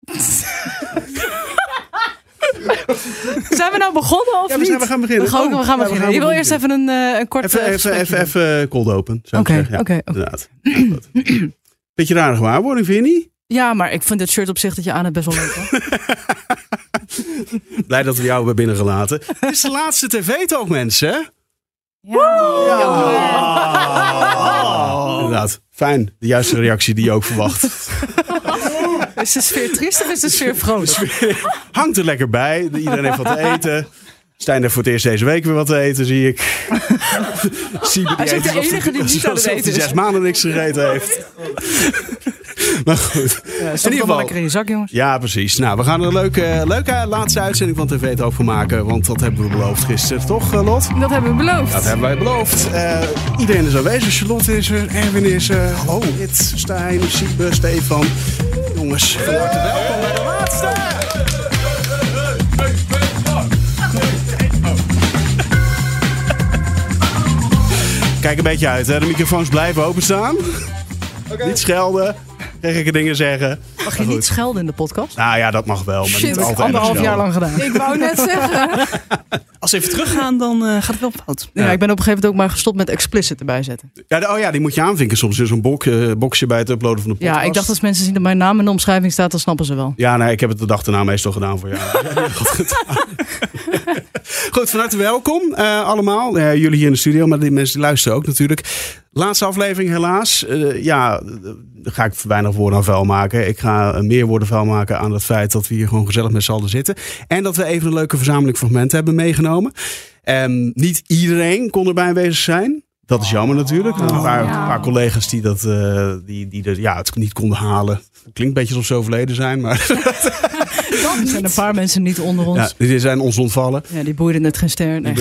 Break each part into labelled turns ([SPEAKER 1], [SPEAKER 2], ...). [SPEAKER 1] Zijn we nou begonnen of
[SPEAKER 2] Ja, we,
[SPEAKER 1] niet?
[SPEAKER 2] zijn, we gaan beginnen.
[SPEAKER 1] We gaan,
[SPEAKER 2] Oh,
[SPEAKER 1] we gaan
[SPEAKER 2] ja,
[SPEAKER 1] beginnen. Je wil eerst even een, eh, een kort
[SPEAKER 2] Even,
[SPEAKER 1] eh,
[SPEAKER 2] even,
[SPEAKER 1] gesprekje
[SPEAKER 2] even, even cold open,
[SPEAKER 1] doen.
[SPEAKER 2] zou ik
[SPEAKER 1] Oké,
[SPEAKER 2] zeggen. Ja,
[SPEAKER 1] oké, oké.
[SPEAKER 2] inderdaad. Ja, dat. Beetje rare gewaarwording, vind je niet?
[SPEAKER 1] Ja, maar ik vind dit shirt op zich dat je aan hebt best wel leuk. Hoor.
[SPEAKER 2] Blij dat we jou hebben binnengelaten. Dit is de laatste tv-talk, mensen.
[SPEAKER 1] Oh.
[SPEAKER 2] Ja. Inderdaad. Fijn. De juiste reactie die je ook verwacht.
[SPEAKER 1] Is de sfeer triest of is de sfeer vrolijk?
[SPEAKER 2] Hangt er lekker bij. Iedereen heeft wat te eten. Stijn heeft voor het eerst deze week weer wat te eten, zie ik. Siebe,
[SPEAKER 1] Hij is ook de
[SPEAKER 2] eet alsof
[SPEAKER 1] enige die
[SPEAKER 2] alsof
[SPEAKER 1] niet aan het
[SPEAKER 2] hij
[SPEAKER 1] eten is.
[SPEAKER 2] zes maanden niks gegeten heeft. maar goed.
[SPEAKER 1] Ja,
[SPEAKER 2] In
[SPEAKER 1] Stop dan maar
[SPEAKER 2] ieder geval-
[SPEAKER 1] lekker in je zak, jongens.
[SPEAKER 2] Ja, precies. Nou, we gaan er een leuke, leuke laatste uitzending van TV het ook van maken. Want dat hebben we beloofd gisteren, toch, eh, Lot?
[SPEAKER 1] Dat hebben we beloofd.
[SPEAKER 2] Dat hebben wij beloofd. Eh, iedereen is aanwezig. Charlotte is er, Erwin is er. Hallo. Dit, Stijn, Siebe, Stefan. Jongens, van harte welkom bij de laatste. Kijk een beetje uit, hè. De microfoons blijven openstaan. Niet schelden. Gekke dingen zeggen.
[SPEAKER 1] Mag je niet schelden in de podcast?
[SPEAKER 2] Nou ja, dat mag wel, maar
[SPEAKER 1] Shit,
[SPEAKER 2] niet altijd.
[SPEAKER 1] anderhalf
[SPEAKER 2] erg
[SPEAKER 1] jaar
[SPEAKER 2] snel.
[SPEAKER 1] lang gedaan.
[SPEAKER 3] Ik wou net zeggen.
[SPEAKER 4] Als ze even teruggaan, dan eh, gaat het wel fout.
[SPEAKER 1] Ja, ik ben op een gegeven moment ook maar gestopt met explicit erbij zetten.
[SPEAKER 2] Ja, de- oh ja, die moet je aanvinken soms in zo'n bok, eh, boxje bij het uploaden van de podcast.
[SPEAKER 1] Ja, ik dacht als mensen zien dat mijn naam in de omschrijving staat, dan snappen ze wel.
[SPEAKER 2] Ja, nee, ik heb het de dag daarna meestal gedaan voor jou. Goed, van harte welkom eh, allemaal. Eh, jullie hier in de studio, maar die mensen die luisteren ook natuurlijk. Laatste aflevering helaas. Eh, ja, eh, daar ga ik weinig woorden aan vuil maken. Ik ga eh, meer woorden vuil maken aan het feit dat we hier gewoon gezellig met z'n allen zitten. En dat we even een leuke verzameling fragmenten hebben meegenomen. Ehm, niet iedereen kon erbij aanwezig zijn. Dat is jammer natuurlijk. Er waren een paar, een paar collega's die, dat, eh, die, die er, ja, het niet konden halen. Klinkt een beetje alsof ze overleden zijn, maar
[SPEAKER 1] Er zijn een paar mensen niet onder
[SPEAKER 2] ja,
[SPEAKER 1] ons.
[SPEAKER 2] die zijn ons ontvallen.
[SPEAKER 1] Ja, die boeiden net geen ster. Nee,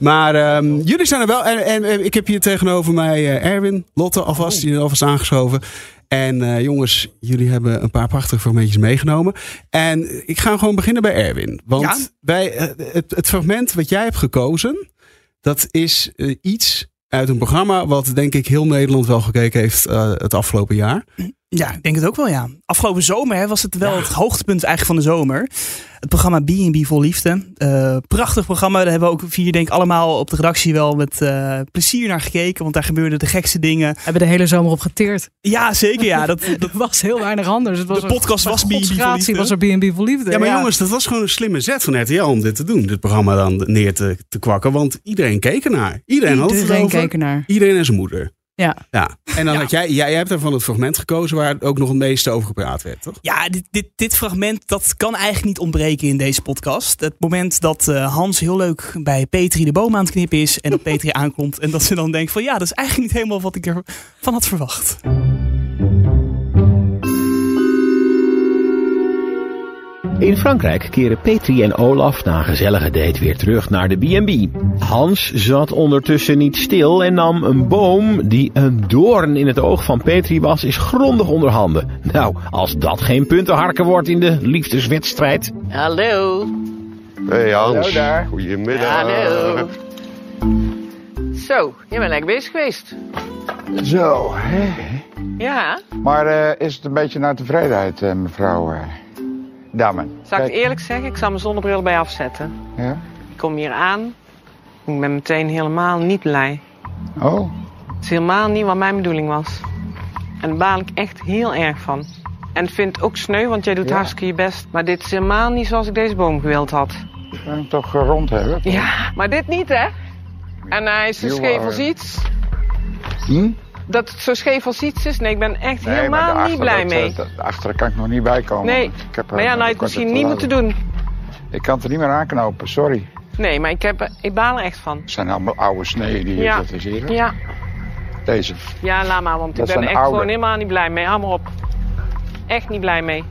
[SPEAKER 2] Maar ehm, jullie zijn er wel. En, en, en ik heb hier tegenover mij eh, Erwin, Lotte alvast, die er alvast aangeschoven. En eh, jongens, jullie hebben een paar prachtige fragmentjes meegenomen. En ik ga gewoon beginnen bij Erwin. Want
[SPEAKER 4] Ja.
[SPEAKER 2] wij, eh, het, het fragment wat jij hebt gekozen, dat is eh, iets uit een programma wat denk ik heel Nederland wel gekeken heeft eh, het afgelopen jaar.
[SPEAKER 4] Ja, ik denk het ook wel, ja. Afgelopen zomer hè, was het wel het hoogtepunt eigenlijk van de zomer. Het programma B&B Vol Liefde. Eh, prachtig programma. Daar hebben we ook vier, denk ik, allemaal op de redactie wel met eh, plezier naar gekeken. Want daar gebeurden de gekste dingen.
[SPEAKER 1] hebben de hele zomer op geteerd.
[SPEAKER 4] Ja, zeker. Ja, dat, dat,
[SPEAKER 1] Er was heel weinig anders. Het was
[SPEAKER 4] de podcast was B&B Vol
[SPEAKER 1] B&B
[SPEAKER 4] Liefde.
[SPEAKER 1] was er B&B voor liefde.
[SPEAKER 2] Ja, maar jongens, dat was gewoon een slimme zet van RTL om dit te doen. Dit programma dan neer te, te kwakken. Want iedereen keek ernaar. Iedereen had het
[SPEAKER 1] iedereen
[SPEAKER 2] erover.
[SPEAKER 1] keek ernaar.
[SPEAKER 2] Iedereen en zijn moeder.
[SPEAKER 1] Ja.
[SPEAKER 2] ja. En dan
[SPEAKER 4] Ja.
[SPEAKER 2] had jij, jij, jij hebt daarvan het fragment gekozen waar ook nog het meeste over gepraat werd, toch?
[SPEAKER 4] Ja, dit, dit, dit fragment dat kan eigenlijk niet ontbreken in deze podcast. Het moment dat eh, Hans heel leuk bij Petri de boom aan het knippen is. En dat Petri aankomt. En dat ze dan denkt van ja, dat is eigenlijk niet helemaal wat ik ervan had verwacht.
[SPEAKER 5] In Frankrijk keren Petri en Olaf na een gezellige date weer terug naar de B&B. Hans zat ondertussen niet stil en nam een boom die een doorn in het oog van Petri was, is grondig onder handen. Nou, als dat geen puntenharken wordt in de liefdeswedstrijd.
[SPEAKER 6] Hallo.
[SPEAKER 7] Hey Hans.
[SPEAKER 6] Hallo daar.
[SPEAKER 7] Goedemiddag.
[SPEAKER 6] Hallo. Zo, je bent lekker bezig geweest. oh.
[SPEAKER 7] Zo, hè.
[SPEAKER 6] Ja,
[SPEAKER 7] Maar eh, is het een beetje naar tevredenheid, eh, mevrouw eh Dammen?
[SPEAKER 6] zal ik het
[SPEAKER 7] Kijk,
[SPEAKER 6] eerlijk zeggen, ik zal mijn zonnebril bij afzetten.
[SPEAKER 7] Ja?
[SPEAKER 6] Ik kom hier aan, ik ben meteen helemaal niet blij.
[SPEAKER 7] Oh,
[SPEAKER 6] Het is helemaal niet wat mijn bedoeling was. En daar baal ik echt heel erg van. En ik vind het ook sneu, want jij doet
[SPEAKER 7] Ja.
[SPEAKER 6] hartstikke je best. Maar dit is helemaal niet zoals ik deze boom gewild had.
[SPEAKER 7] ik kan hem toch eh, rond hebben?
[SPEAKER 6] Ja, maar dit niet, hè? En hij is zo
[SPEAKER 7] You
[SPEAKER 6] scheef
[SPEAKER 7] are-
[SPEAKER 6] als iets.
[SPEAKER 7] Hm?
[SPEAKER 6] Dat het zo scheef als iets is, nee, ik ben echt
[SPEAKER 7] Nee, maar
[SPEAKER 6] helemaal
[SPEAKER 7] daarachter,
[SPEAKER 6] niet blij
[SPEAKER 7] dat,
[SPEAKER 6] mee.
[SPEAKER 7] eh, dat- daarachter kan ik nog niet bij komen.
[SPEAKER 6] Nee,
[SPEAKER 7] want ik heb eh, er
[SPEAKER 6] maar ja,
[SPEAKER 7] een
[SPEAKER 6] nou, het
[SPEAKER 7] korte
[SPEAKER 6] misschien niet moeten
[SPEAKER 7] verlading.
[SPEAKER 6] doen.
[SPEAKER 7] Ik kan het er niet meer aanknopen, sorry.
[SPEAKER 6] Nee, maar ik, heb, er- ik baal er echt van.
[SPEAKER 7] Het zijn allemaal oude sneeën die
[SPEAKER 6] Ja.
[SPEAKER 7] hier zitten, zie je dat?
[SPEAKER 6] Ja,
[SPEAKER 7] Deze.
[SPEAKER 6] ja laat maar, want
[SPEAKER 7] Dat
[SPEAKER 6] ik ben
[SPEAKER 7] zijn
[SPEAKER 6] er echt
[SPEAKER 7] oude.
[SPEAKER 6] gewoon helemaal niet blij mee. Hou maar op. Echt niet blij mee.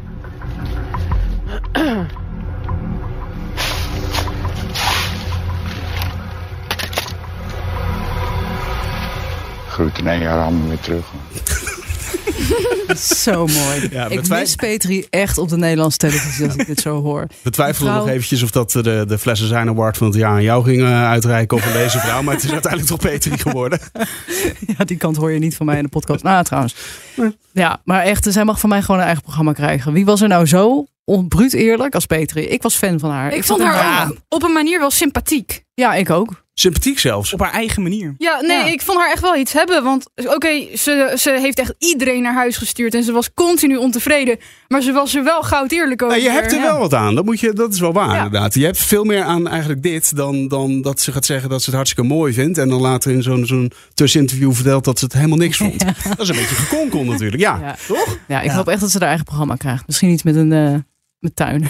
[SPEAKER 7] Groeten en je handen weer terug.
[SPEAKER 1] Zo mooi.
[SPEAKER 2] Ja,
[SPEAKER 1] ik
[SPEAKER 2] betwij-
[SPEAKER 1] mis Petri echt op de Nederlandse televisie als ik dit zo hoor.
[SPEAKER 2] We twijfelen nog
[SPEAKER 1] Mevrouw-
[SPEAKER 2] eventjes of dat eh, de, de Flessen Zijn Award van het jaar aan jou ging eh, uitreiken. Of aan deze vrouw. Maar het is uiteindelijk toch Petri geworden.
[SPEAKER 1] Ja, die kant hoor je niet van mij in de podcast. Nou, trouwens. Ja, maar echt, zij mag van mij gewoon een eigen programma krijgen. Wie was er nou zo onbruut eerlijk als Petri? Ik was fan van haar.
[SPEAKER 3] Ik vond haar ook op een manier wel sympathiek.
[SPEAKER 1] Ja, ik ook.
[SPEAKER 2] Sympathiek zelfs.
[SPEAKER 4] Op haar eigen manier.
[SPEAKER 3] Ja, nee,
[SPEAKER 1] Ja.
[SPEAKER 3] ik vond haar echt wel iets hebben. Want oké, ze, ze heeft echt iedereen naar huis gestuurd. En ze was continu ontevreden. Maar ze was er wel goud eerlijk over.
[SPEAKER 2] Nou, je hebt er
[SPEAKER 3] Ja.
[SPEAKER 2] wel wat aan. Dat, moet je, dat is wel waar
[SPEAKER 3] Ja.
[SPEAKER 2] inderdaad. Je hebt veel meer aan eigenlijk dit dan, dan dat ze gaat zeggen dat ze het hartstikke mooi vindt. En dan later in zo'n zo'n tusseninterview vertelt dat ze het helemaal niks vond. Dat is een beetje gekonkel natuurlijk. Ja,
[SPEAKER 1] Ja.
[SPEAKER 2] toch?
[SPEAKER 1] Ja, ik
[SPEAKER 4] Ja.
[SPEAKER 1] hoop echt dat ze haar eigen programma krijgt. Misschien iets met een eh, met tuin.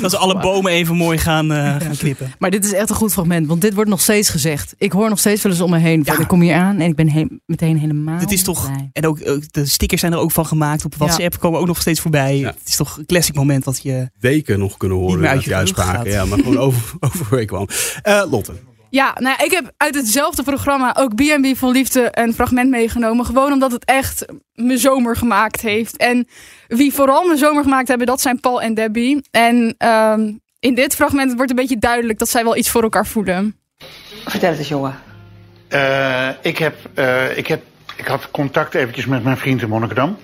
[SPEAKER 4] Dat ze alle bomen even mooi gaan, eh, gaan knippen.
[SPEAKER 1] Maar dit is echt een goed fragment, want dit wordt nog steeds gezegd. Ik hoor nog steeds wel eens om me heen. van,
[SPEAKER 4] Ja.
[SPEAKER 1] Ik kom hier aan en ik ben he- meteen helemaal.
[SPEAKER 4] Dit is toch-
[SPEAKER 1] blij.
[SPEAKER 4] En ook, ook de stickers zijn er ook van gemaakt. Op WhatsApp komen ook nog steeds voorbij.
[SPEAKER 2] Ja.
[SPEAKER 4] Het is toch een classic moment dat je...
[SPEAKER 2] Deken nog kunnen
[SPEAKER 4] Niet
[SPEAKER 2] horen
[SPEAKER 4] meer uit
[SPEAKER 2] uit
[SPEAKER 4] je
[SPEAKER 2] je
[SPEAKER 4] rug
[SPEAKER 2] uitspraken.
[SPEAKER 4] gaat.
[SPEAKER 2] Ja, maar gewoon over, overweek kwam. Eh, Lotte.
[SPEAKER 3] Ja, nou ja, ik heb uit hetzelfde programma ook B&B Vol Liefde een fragment meegenomen. Gewoon omdat het echt mijn zomer gemaakt heeft. En wie vooral mijn zomer gemaakt hebben, dat zijn Paul en Debbie. En ehm, in dit fragment wordt een beetje duidelijk dat zij wel iets voor elkaar voelen.
[SPEAKER 8] Vertel het eens, jongen.
[SPEAKER 9] Eh, ik, heb, eh, ik, heb, ik had contact eventjes met mijn vriend in Monnikendam.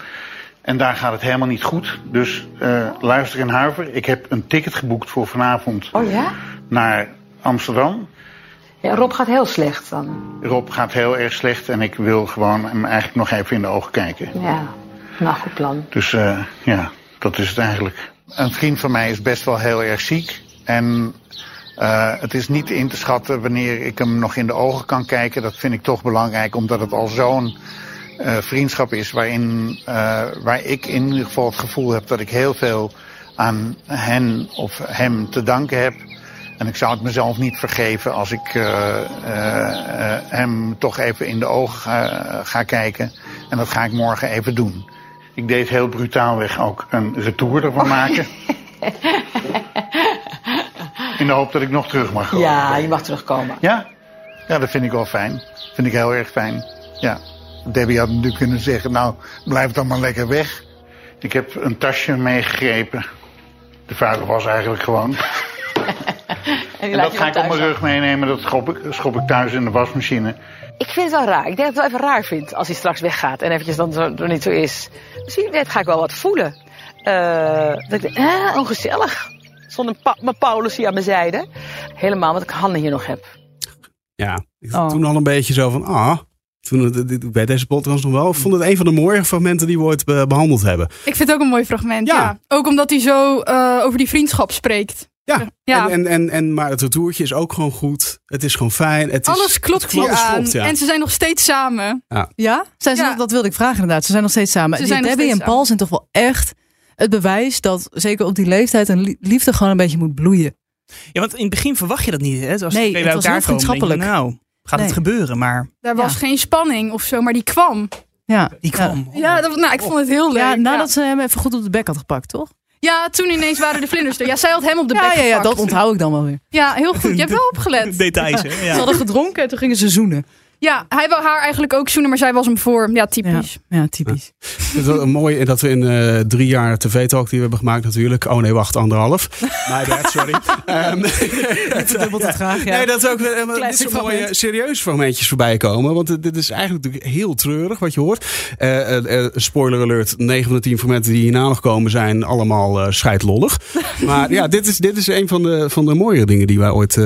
[SPEAKER 9] En daar gaat het helemaal niet goed. Dus eh, luister en huiver. Ik heb een ticket geboekt voor vanavond
[SPEAKER 8] Oh ja?
[SPEAKER 9] naar Amsterdam.
[SPEAKER 8] Ja, Rob gaat heel slecht dan.
[SPEAKER 9] Rob gaat heel erg slecht en ik wil gewoon hem eigenlijk nog even in de ogen kijken.
[SPEAKER 8] Ja. Nou, goed plan.
[SPEAKER 9] Dus eh, ja, dat is het eigenlijk. Een vriend van mij is best wel heel erg ziek. En eh, het is niet in te schatten wanneer ik hem nog in de ogen kan kijken. Dat vind ik toch belangrijk, omdat het al zo'n eh, vriendschap is waarin, eh, waar ik in ieder geval het gevoel heb dat ik heel veel aan hen of hem te danken heb. En ik zou het mezelf niet vergeven als ik eh, eh, eh, hem toch even in de ogen ga, ga kijken. En dat ga ik morgen even doen. Ik deed heel brutaalweg ook een retour ervan maken. In de hoop dat ik nog terug mag komen.
[SPEAKER 8] Ja, je mag terugkomen.
[SPEAKER 9] Ja? Ja, dat vind ik wel fijn. Vind ik heel erg fijn. Ja. Debbie had natuurlijk kunnen zeggen, nou, blijf dan maar lekker weg. Ik heb een tasje meegegrepen. De vuile was eigenlijk gewoon.
[SPEAKER 8] En,
[SPEAKER 9] En dat ga ik op mijn rug meenemen, dat schop ik, schop ik thuis in de wasmachine.
[SPEAKER 8] Ik vind het wel raar. Ik denk dat ik het wel even raar vind als hij straks weggaat en eventjes dan zo, er niet zo is. Misschien net ga ik wel wat voelen. Eh, dat ik denk, hè, ongezellig. Zonder pa- mijn Paulus hier aan mijn zijde. Helemaal, want ik handen hier nog heb.
[SPEAKER 2] Ja, ik
[SPEAKER 1] Oh.
[SPEAKER 2] toen al een beetje zo van, ah, toen het- dit- bij deze podcast nog wel. Ik vond het een van de mooie fragmenten die we ooit be- behandeld hebben.
[SPEAKER 3] Ik vind het ook een mooi fragment,
[SPEAKER 2] Ja.
[SPEAKER 3] ja. Ook omdat hij zo eh, over die vriendschap spreekt.
[SPEAKER 2] Ja,
[SPEAKER 3] Ja.
[SPEAKER 2] En, en, en, en, maar het retourtje is ook gewoon goed. Het is gewoon fijn. Het is,
[SPEAKER 3] Alles klopt
[SPEAKER 2] het klopt,
[SPEAKER 3] hier aan.
[SPEAKER 2] klopt, ja.
[SPEAKER 3] En ze zijn nog steeds samen.
[SPEAKER 1] Ja? Zijn ze,
[SPEAKER 3] Ja.
[SPEAKER 1] Dat wilde ik vragen inderdaad. Ze zijn nog steeds samen.
[SPEAKER 3] Ze
[SPEAKER 1] Die
[SPEAKER 3] zijn nog
[SPEAKER 1] Debbie en
[SPEAKER 3] steeds
[SPEAKER 1] Paul zijn toch wel echt het bewijs dat zeker op die leeftijd een li- liefde gewoon een beetje moet bloeien.
[SPEAKER 4] Ja, want in het begin verwacht je dat niet. Hè? Dus Als
[SPEAKER 1] Nee,
[SPEAKER 4] nee, twee bij
[SPEAKER 1] het was
[SPEAKER 4] elkaar
[SPEAKER 1] heel
[SPEAKER 4] komen, denk je,
[SPEAKER 1] vriendschappelijk.
[SPEAKER 4] nou, gaat het
[SPEAKER 1] Nee.
[SPEAKER 4] gebeuren. Maar
[SPEAKER 3] Daar was
[SPEAKER 1] Ja.
[SPEAKER 3] geen spanning of zo, maar die kwam.
[SPEAKER 1] Ja.
[SPEAKER 4] die kwam.
[SPEAKER 3] Ja, dat, nou, ik vond het heel leuk.
[SPEAKER 1] Ja, nadat ze hem even goed op de bek had gepakt, toch?
[SPEAKER 3] Ja, toen ineens waren de vlinders er. Ja, zij had hem op de
[SPEAKER 1] ja,
[SPEAKER 3] bek
[SPEAKER 1] ja, ja,
[SPEAKER 3] gepakt.
[SPEAKER 1] dat onthoud ik dan wel weer.
[SPEAKER 3] Ja, heel goed. Je hebt wel opgelet.
[SPEAKER 4] Details, hè?
[SPEAKER 1] Ze
[SPEAKER 4] Ja.
[SPEAKER 1] hadden gedronken en toen gingen ze zoenen.
[SPEAKER 3] Ja, hij wou haar eigenlijk ook zoenen, maar zij was hem voor. Ja,
[SPEAKER 1] Ja,
[SPEAKER 3] typisch.
[SPEAKER 1] ja typisch.
[SPEAKER 2] Het is wel mooi dat we in eh, drie jaar tv-talk die we hebben gemaakt natuurlijk. Oh nee, wacht, anderhalf. My bad, sorry. Ehm,
[SPEAKER 1] Dubbel te graag, ja.
[SPEAKER 2] Nee, dat is ook. eh, maar dit
[SPEAKER 1] Classic
[SPEAKER 2] soort mooie
[SPEAKER 1] fragment.
[SPEAKER 2] serieuze fragmentjes voorbij komen. Want eh, dit is eigenlijk natuurlijk heel treurig wat je hoort. Eh, eh, eh, spoiler alert: 9 van de 10 fragmenten die hierna nog komen zijn allemaal eh, scheidlollig. maar ja, dit is, dit is een van de, van de mooiere dingen die wij ooit eh,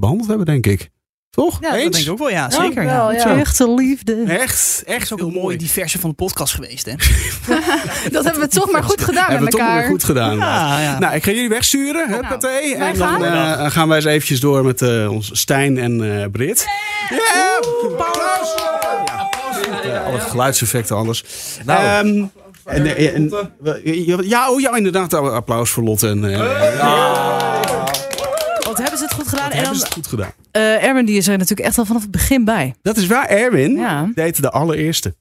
[SPEAKER 2] behandeld hebben, denk ik. Toch?
[SPEAKER 4] Ja, dat
[SPEAKER 2] Eens?
[SPEAKER 4] denk ik ook wel. Ja, zeker. Ja,
[SPEAKER 1] Wel, ja. Echte liefde.
[SPEAKER 2] Echt, echt
[SPEAKER 4] is ook
[SPEAKER 2] heel
[SPEAKER 4] een mooie diverse van de podcast geweest, hè?
[SPEAKER 3] Dat hebben we toch maar goed gedaan
[SPEAKER 2] Hebben we
[SPEAKER 3] met
[SPEAKER 2] toch wel
[SPEAKER 3] elkaar.
[SPEAKER 2] weer goed gedaan.
[SPEAKER 4] Ja, ja.
[SPEAKER 2] Nou, ik ga jullie wegsturen. hè, Pathé.
[SPEAKER 3] wij
[SPEAKER 2] en dan
[SPEAKER 3] gaan.
[SPEAKER 2] eh, gaan wij eens eventjes door met eh, ons Stijn en eh, Brit. Ja! Applaus! Ja. Eh, alle geluidseffecten, alles. Ehm, en, eh, en- we- ja, oh ja, inderdaad. Applaus voor Lotte. En, eh,
[SPEAKER 1] Wat hebben ze het goed gedaan? En
[SPEAKER 2] Hebben
[SPEAKER 1] dan,
[SPEAKER 2] ze het goed gedaan.
[SPEAKER 1] eh, Erwin die is er natuurlijk echt al vanaf het begin bij.
[SPEAKER 2] Dat is waar. Erwin
[SPEAKER 1] Ja.
[SPEAKER 2] deed de allereerste.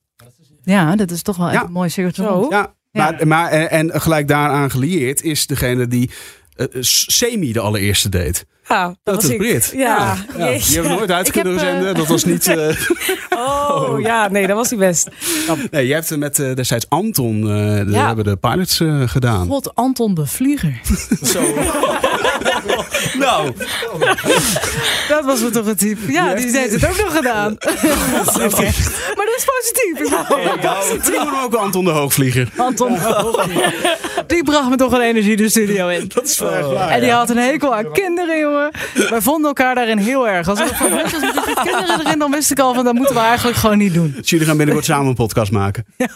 [SPEAKER 1] Ja, dat is toch wel echt
[SPEAKER 2] Ja.
[SPEAKER 1] een mooi circuit.
[SPEAKER 2] Ja,
[SPEAKER 1] Ja.
[SPEAKER 2] Maar, maar, eh, en, en gelijk daaraan gelieerd is degene die eh, eh, semi de allereerste deed.
[SPEAKER 10] Ja, Oh, dat,
[SPEAKER 2] Dat
[SPEAKER 10] was
[SPEAKER 2] is
[SPEAKER 10] ik.
[SPEAKER 2] Brit.
[SPEAKER 10] Ja,
[SPEAKER 2] Ja,
[SPEAKER 10] jeetje.
[SPEAKER 2] die hebben we nooit uit
[SPEAKER 10] Ik
[SPEAKER 2] kunnen
[SPEAKER 10] heb, eh,
[SPEAKER 2] zenden. Dat was niet. eh,
[SPEAKER 10] Oh, ja, nee, dat was niet best.
[SPEAKER 2] nee, jij hebt eh, met eh, destijds Anton. eh de-
[SPEAKER 10] Ja.
[SPEAKER 2] hebben de pilots eh, gedaan.
[SPEAKER 1] God, Anton de Vlieger.
[SPEAKER 2] Zo.
[SPEAKER 10] Oh,
[SPEAKER 2] nou,
[SPEAKER 10] Dat was me toch een type. Ja, die, heeft het ook nog gedaan. Maar dat is positief. Ik bedoel,
[SPEAKER 2] we noemen hem ook wel Anton de Hoogvlieger.
[SPEAKER 1] Anton. Die bracht me toch een energie de studio in.
[SPEAKER 2] Dat is wel echt waar.
[SPEAKER 1] En die had een hekel aan kinderen, jongen. Wij vonden elkaar daarin heel erg. Als ik van was met die kinderen erin, dan wist ik al van dat moeten we eigenlijk gewoon niet doen.
[SPEAKER 2] Dus jullie gaan binnenkort samen een podcast maken.
[SPEAKER 1] Ja,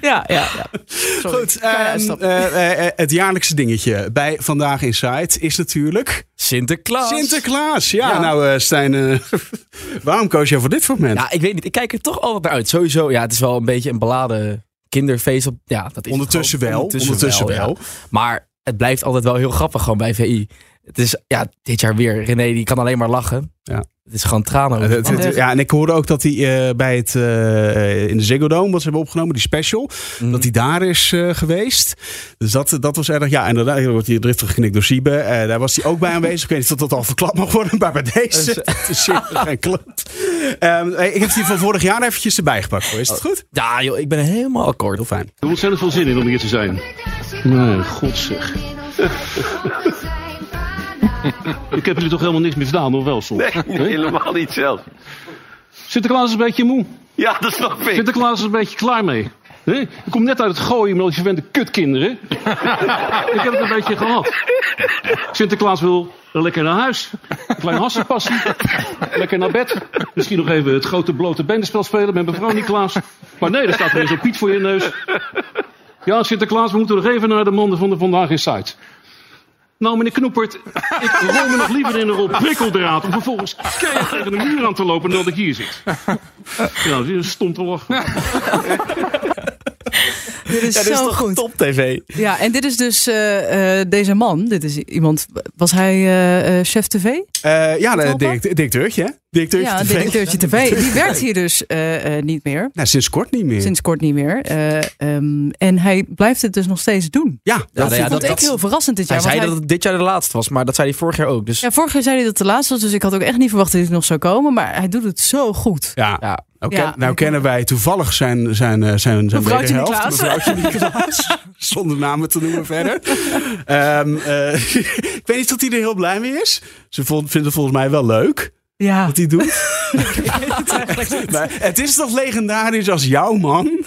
[SPEAKER 1] ja, ja.
[SPEAKER 2] Goed, ehm,
[SPEAKER 1] stap.
[SPEAKER 2] eh, eh, het jaarlijkse dingetje bij Vandaag Inside is natuurlijk
[SPEAKER 10] Sinterklaas.
[SPEAKER 2] Sinterklaas. Ja, nou eh, Stijn, eh, waarom koos jij voor dit fragment?
[SPEAKER 10] Ja, ik weet niet. Ik kijk er toch altijd naar uit. Sowieso, ja, het is wel een beetje een beladen kinderfeest. Op, ja, dat is het
[SPEAKER 2] ondertussen
[SPEAKER 10] gewoon.
[SPEAKER 2] wel, ondertussen, wel.
[SPEAKER 10] ja. Maar het blijft altijd wel heel grappig gewoon bij VI. Het is, ja, dit jaar weer. René, die kan alleen maar lachen.
[SPEAKER 2] Ja.
[SPEAKER 10] Het is gewoon tranen.
[SPEAKER 2] Het-
[SPEAKER 10] over
[SPEAKER 2] het-
[SPEAKER 10] het
[SPEAKER 1] eh,
[SPEAKER 2] het- ja, en ik hoorde ook dat hij eh, bij het eh, in de Ziggo Dome, wat ze hebben opgenomen, die special,
[SPEAKER 10] Mhm.
[SPEAKER 2] dat hij daar is eh, geweest. Dus dat, dat was erg. Ja, inderdaad, er wordt hier driftig geknikt door Siebe. Eh, daar was hij ook bij aanwezig. Ik weet niet of dat al verklapt mag worden, maar bij deze. Het is hier geen klopt. Ehm, hey, ik heb die van vorig jaar eventjes erbij gepakt. Hoor.
[SPEAKER 10] Oh.
[SPEAKER 2] Is dat
[SPEAKER 11] Oh.
[SPEAKER 2] goed?
[SPEAKER 10] Ja, joh, ik ben helemaal akkoord.
[SPEAKER 2] Heel fijn.
[SPEAKER 11] Ik heb ontzettend veel zin in om hier te zijn. Nee, god zeg. Ik heb jullie toch helemaal niks misdaan, of wel soms?
[SPEAKER 5] Helemaal niet zelf.
[SPEAKER 11] Sinterklaas is een beetje moe.
[SPEAKER 5] Ja, dat snap ik.
[SPEAKER 11] Sinterklaas is een beetje klaar mee. Hè? Ik kom net uit het gooien met al die verwende kutkinderen. ik heb het een beetje gehad. Sinterklaas wil lekker naar huis. Een klein hassenpassie. Lekker naar bed. Misschien nog even het grote blote bendenspel spelen met mevrouw Niklaas. Maar nee, daar staat weer zo'n Piet voor je neus. Ja, Sinterklaas, we moeten nog even naar de mannen van de Vandaag in Site. Nou, meneer Knoepert, ik rol me nog liever in een rol prikkeldraad... om vervolgens keihard tegen de muur aan te lopen dan dat ik hier zit. Ja, dat is een stom te lachen.
[SPEAKER 1] Dit is zo goed.
[SPEAKER 10] top tv.
[SPEAKER 1] Ja, en dit is dus eh, eh, deze man. Dit is iemand. Was hij eh, eh, chef TV?
[SPEAKER 2] Eh, ja, de
[SPEAKER 1] Tulpen?
[SPEAKER 2] direct- directeurtje, hè? Directeurtje
[SPEAKER 1] ja,
[SPEAKER 2] TV.
[SPEAKER 1] directeurtje TV. Die werkt hier dus eh, eh, niet meer.
[SPEAKER 2] Nou, sinds kort niet meer.
[SPEAKER 1] Sinds kort niet meer. Eh, ehm, en hij blijft het dus nog steeds doen.
[SPEAKER 2] Ja, dat,
[SPEAKER 10] nou ja,
[SPEAKER 1] Dat vond
[SPEAKER 10] dat-
[SPEAKER 1] ik heel verrassend dit jaar.
[SPEAKER 10] Hij
[SPEAKER 1] want
[SPEAKER 10] zei dat het dit jaar de laatste was, maar dat zei hij vorig jaar ook. Dus
[SPEAKER 1] Ja, vorig jaar zei hij dat de laatste was, dus ik had ook echt niet verwacht dat hij nog zou komen. Maar hij doet het zo goed.
[SPEAKER 2] Ja.
[SPEAKER 10] ja,
[SPEAKER 2] Nou,
[SPEAKER 1] Ja.
[SPEAKER 2] ken- nou kennen wij toevallig zijn, zijn, eh, zijn, zijn
[SPEAKER 1] Mevrouwtje
[SPEAKER 2] wederhelft,
[SPEAKER 1] Niklaas.
[SPEAKER 2] Mevrouwtje Niklaas. Zonder namen te noemen verder. Ehm, eh, ik weet niet of hij er heel blij mee is. Ze vond, vindt het volgens mij wel leuk
[SPEAKER 1] Ja,
[SPEAKER 2] wat hij doet. maar het is toch legendarisch als jouw man.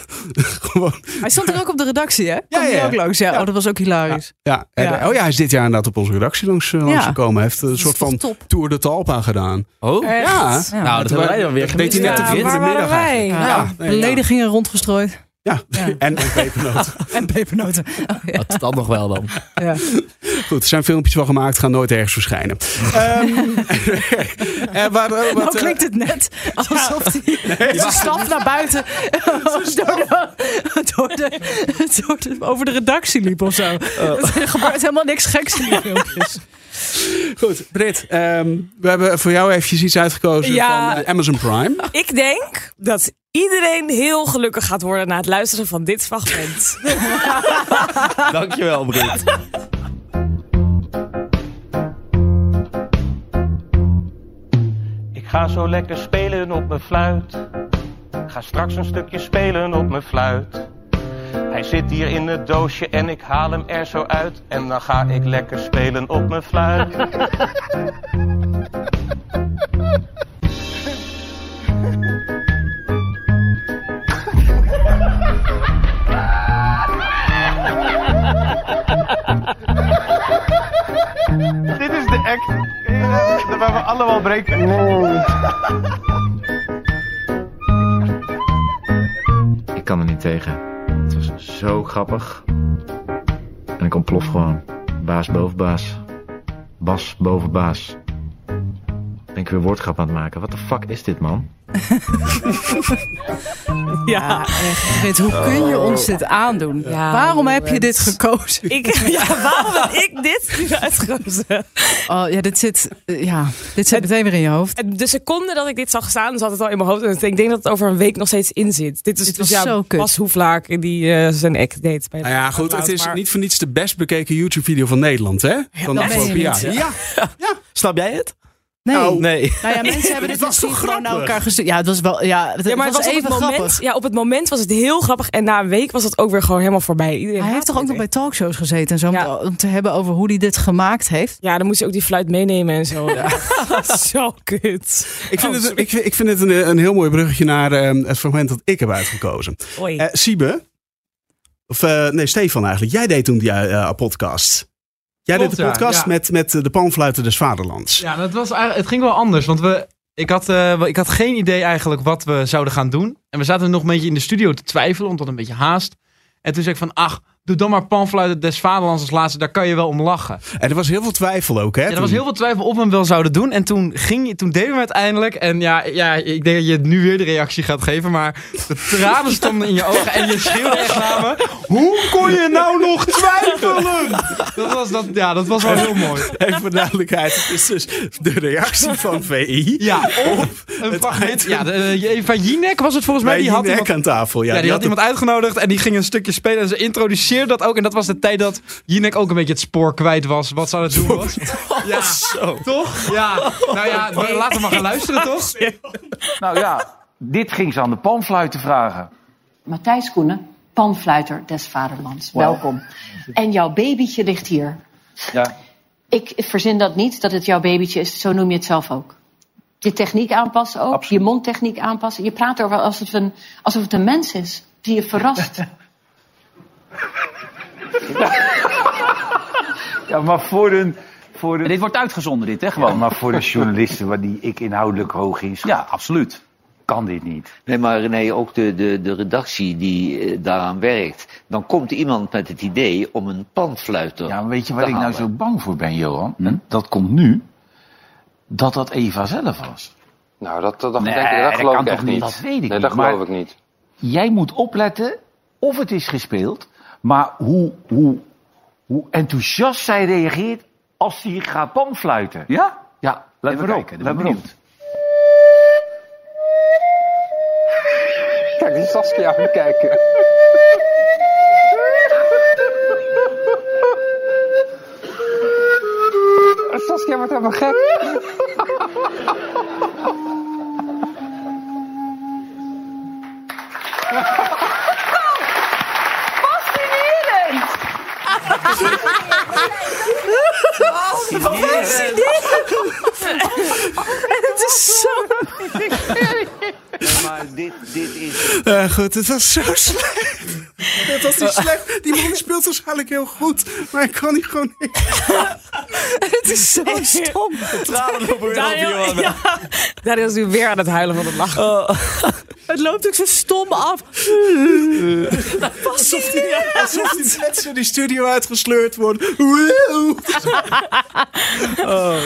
[SPEAKER 2] Gewoon,
[SPEAKER 1] hij stond er ook op de redactie, hè? Kwam
[SPEAKER 2] Ja,
[SPEAKER 1] ja,
[SPEAKER 2] ja.
[SPEAKER 1] ook langs. Ja, Oh, dat was ook hilarisch.
[SPEAKER 2] ja. En,
[SPEAKER 1] Ja.
[SPEAKER 2] Oh ja, hij is dit jaar inderdaad op onze redactie langs, eh, langsgekomen. Hij heeft een soort
[SPEAKER 1] toch
[SPEAKER 2] van
[SPEAKER 1] top.
[SPEAKER 2] Tour de Talpa gedaan.
[SPEAKER 10] Oh,
[SPEAKER 1] Echt?
[SPEAKER 2] Ja.
[SPEAKER 1] Ja.
[SPEAKER 10] nou, dat hebben wij dan weer
[SPEAKER 2] Dat deed
[SPEAKER 10] gemist.
[SPEAKER 2] hij net
[SPEAKER 10] Ja,
[SPEAKER 2] te vroeg
[SPEAKER 10] waar
[SPEAKER 2] in de
[SPEAKER 10] waren
[SPEAKER 2] middag.
[SPEAKER 10] wij?
[SPEAKER 2] eigenlijk.
[SPEAKER 1] Ja,
[SPEAKER 2] Ja, Ah, nee, ja.
[SPEAKER 1] beledigingen rondgestrooid.
[SPEAKER 2] Ja,
[SPEAKER 1] Ja.
[SPEAKER 2] en een pepernoot.
[SPEAKER 1] En pepernoten. Oh, ja.
[SPEAKER 10] Dat, dat nog wel dan.
[SPEAKER 1] Ja.
[SPEAKER 2] Goed, er zijn filmpjes van gemaakt, gaan nooit ergens verschijnen. Ehm, eh, waar, eh, wat,
[SPEAKER 1] Nou
[SPEAKER 2] eh,
[SPEAKER 1] klinkt het net alsof hij zijn stap naar buiten door de, door de, door de- over de redactie liep of zo. Er gebeurt helemaal niks geks in die filmpjes.
[SPEAKER 2] goed, Britt, ehm, we hebben voor jou eventjes iets uitgekozen
[SPEAKER 10] Ja.
[SPEAKER 2] van eh, Amazon Prime.
[SPEAKER 10] Ik denk dat iedereen heel gelukkig gaat worden na het luisteren van dit fragment. Dankjewel, Britt.
[SPEAKER 11] Ik ga zo lekker spelen op mijn fluit. Ga straks een stukje spelen op mijn fluit. Hij zit hier in het doosje en ik haal hem er zo uit. En dan ga ik lekker spelen op mijn fluit. Dit is de act eh, waar we allemaal breken.
[SPEAKER 5] Ik kan er niet tegen. Het was zo grappig. En ik ontplof gewoon. Baas boven baas. Bas boven baas. Ben ik weer woordgrap aan het maken. Wat de fuck is dit, man?
[SPEAKER 1] Ja, echt. Fred, hoe kun je ons dit aandoen? waarom heb je dit gekozen?
[SPEAKER 10] Ik, ja, waarom heb ik dit nu uitgekozen?
[SPEAKER 1] Oh, ja, dit zit, eh, ja, dit zit meteen weer in je hoofd.
[SPEAKER 10] De seconde dat ik dit zag staan, zat het al in mijn hoofd. En ik denk dat het over een week nog steeds in zit. Dit is
[SPEAKER 1] Dit
[SPEAKER 10] dus
[SPEAKER 1] was
[SPEAKER 10] ja,
[SPEAKER 1] zo kut.
[SPEAKER 10] Bas Hoeflaak die eh, zijn act deed. Bij
[SPEAKER 2] Nou ja, goed, het is niet voor niets de best bekeken YouTube-video van Nederland, hè? Van
[SPEAKER 1] dat
[SPEAKER 2] de
[SPEAKER 1] meen je
[SPEAKER 2] afgelopen jaar.
[SPEAKER 1] niet.
[SPEAKER 2] Ja,
[SPEAKER 12] Snap jij het?
[SPEAKER 1] Nee.
[SPEAKER 12] Oh, nee.
[SPEAKER 1] Nou ja, mensen hebben dit misschien gewoon
[SPEAKER 10] Nou,
[SPEAKER 1] naar elkaar gestuurd. Ja, het was wel, ja, het,
[SPEAKER 10] Ja, maar
[SPEAKER 1] het was,
[SPEAKER 10] het was op
[SPEAKER 1] even
[SPEAKER 10] het moment,
[SPEAKER 1] grappig.
[SPEAKER 10] Ja, op het moment was het heel grappig. En na een week was het ook weer gewoon helemaal voorbij. Iedereen
[SPEAKER 1] Hij heeft toch ook nog bij talkshows gezeten en zo om te- om te hebben over hoe hij dit gemaakt heeft.
[SPEAKER 10] Ja, dan moest je ook die fluit meenemen en zo. zo kut. Oh,
[SPEAKER 2] Ik
[SPEAKER 13] Oh,
[SPEAKER 2] vind, het, ik, vind- ik vind het een, een heel mooi bruggetje naar ehm, het fragment dat ik heb uitgekozen.
[SPEAKER 10] Oei.
[SPEAKER 2] Eh, Siebe, of eh, nee, Stefan eigenlijk. Jij deed toen die eh, podcast. Jij
[SPEAKER 13] Klopt,
[SPEAKER 2] deed de
[SPEAKER 13] ja,
[SPEAKER 2] podcast
[SPEAKER 13] ja.
[SPEAKER 2] met, met eh, de panfluiten des vaderlands.
[SPEAKER 13] Ja, dat was eigenlijk, het ging wel anders. Want we, ik, had, eh, ik had geen idee eigenlijk wat we zouden gaan doen. En we zaten nog een beetje in de studio te twijfelen, omdat een beetje haast. En toen zei ik van, ach, doe dan maar panfluiten des vaderlands als laatste. Daar kan je wel om lachen.
[SPEAKER 2] En er was heel veel twijfel ook, hè?
[SPEAKER 13] Ja, er was heel veel twijfel of we hem wel zouden doen. En toen, ging, toen deden we het eindelijk. En ja, ja, ik denk dat je nu weer de reactie gaat geven. Maar de tranen stonden in je ogen. En je schreeuwde echt naar me. Hoe kon je nou nog twijfelen? Dat was, dat, ja, dat was wel heel mooi.
[SPEAKER 2] Even voor duidelijkheid, het is dus de reactie van VI
[SPEAKER 13] Ja,
[SPEAKER 2] op
[SPEAKER 13] een
[SPEAKER 2] het
[SPEAKER 13] fragment.
[SPEAKER 2] item.
[SPEAKER 13] Ja, de, eh, van Jinek was het volgens mij.
[SPEAKER 2] Bij
[SPEAKER 13] die had
[SPEAKER 2] Jinek
[SPEAKER 13] iemand,
[SPEAKER 2] aan tafel, ja.
[SPEAKER 13] die,
[SPEAKER 2] Die
[SPEAKER 13] had,
[SPEAKER 2] had
[SPEAKER 13] iemand uitgenodigd en die ging een stukje spelen. En ze introduceerde dat ook. En dat was de tijd dat Jinek ook een beetje het spoor kwijt was. Wat ze aan het doen was. Ja, toch? Ja, nou ja,
[SPEAKER 14] Nee.
[SPEAKER 13] laten we maar gaan luisteren, toch?
[SPEAKER 14] Nou ja, dit ging ze aan de panfluiten vragen.
[SPEAKER 15] Matthijs Koenen, panfluiter des vaderlands.
[SPEAKER 14] Wauw.
[SPEAKER 15] Welkom. En jouw babytje ligt hier.
[SPEAKER 14] Ja.
[SPEAKER 15] Ik verzin dat niet, dat het jouw babytje is. Zo noem je het zelf ook. Je techniek aanpassen ook. Je mondtechniek aanpassen. Je praat erover alsof het een, alsof het een mens is die je verrast.
[SPEAKER 14] Ja, maar voor een... Voor een... Dit wordt uitgezonden, dit, hè, gewoon. maar voor de journalisten waar die ik inhoudelijk hoog is. Ja, absoluut. Kan dit niet.
[SPEAKER 16] Nee, maar nee, ook de, de, de redactie die eh, daaraan werkt. Dan komt iemand met het idee om een panfluiter. Ja,
[SPEAKER 14] Weet je waar ik nou zo bang voor ben, Johan?
[SPEAKER 17] Hm?
[SPEAKER 14] En dat komt nu. Dat dat Eva zelf was.
[SPEAKER 17] Nou, dat, dat, dat,
[SPEAKER 14] Nee,
[SPEAKER 17] denk ik, dat
[SPEAKER 14] dat
[SPEAKER 17] geloof
[SPEAKER 14] kan
[SPEAKER 17] ik echt
[SPEAKER 14] toch niet?
[SPEAKER 17] niet.
[SPEAKER 14] Dat weet ik
[SPEAKER 17] nee,
[SPEAKER 14] niet,
[SPEAKER 17] dat geloof
[SPEAKER 14] maar-
[SPEAKER 17] ik niet.
[SPEAKER 14] Jij moet opletten of het is gespeeld. Maar hoe, hoe, hoe enthousiast zij reageert als hij gaat panfluiten. Ja? Ja, laten we kijken. Let maar op.
[SPEAKER 17] Kijk, die Saskia aan het kijken. Eh, Saskia wordt helemaal gek.
[SPEAKER 10] Fascinerend!
[SPEAKER 1] Het is zo...
[SPEAKER 16] maar dit, dit is
[SPEAKER 2] Eh, goed, het was zo slecht. Het was niet slecht. Die man speelt waarschijnlijk heel goed, maar ik kan niet gewoon
[SPEAKER 1] Het is zo stom.
[SPEAKER 10] Daniel, ja, Daniel is nu weer aan het huilen van het lachen.
[SPEAKER 2] Oh.
[SPEAKER 1] Het loopt ook zo stom af.
[SPEAKER 2] Alsof die, alsof die net zo die studio uitgesleurd wordt.
[SPEAKER 13] Oh.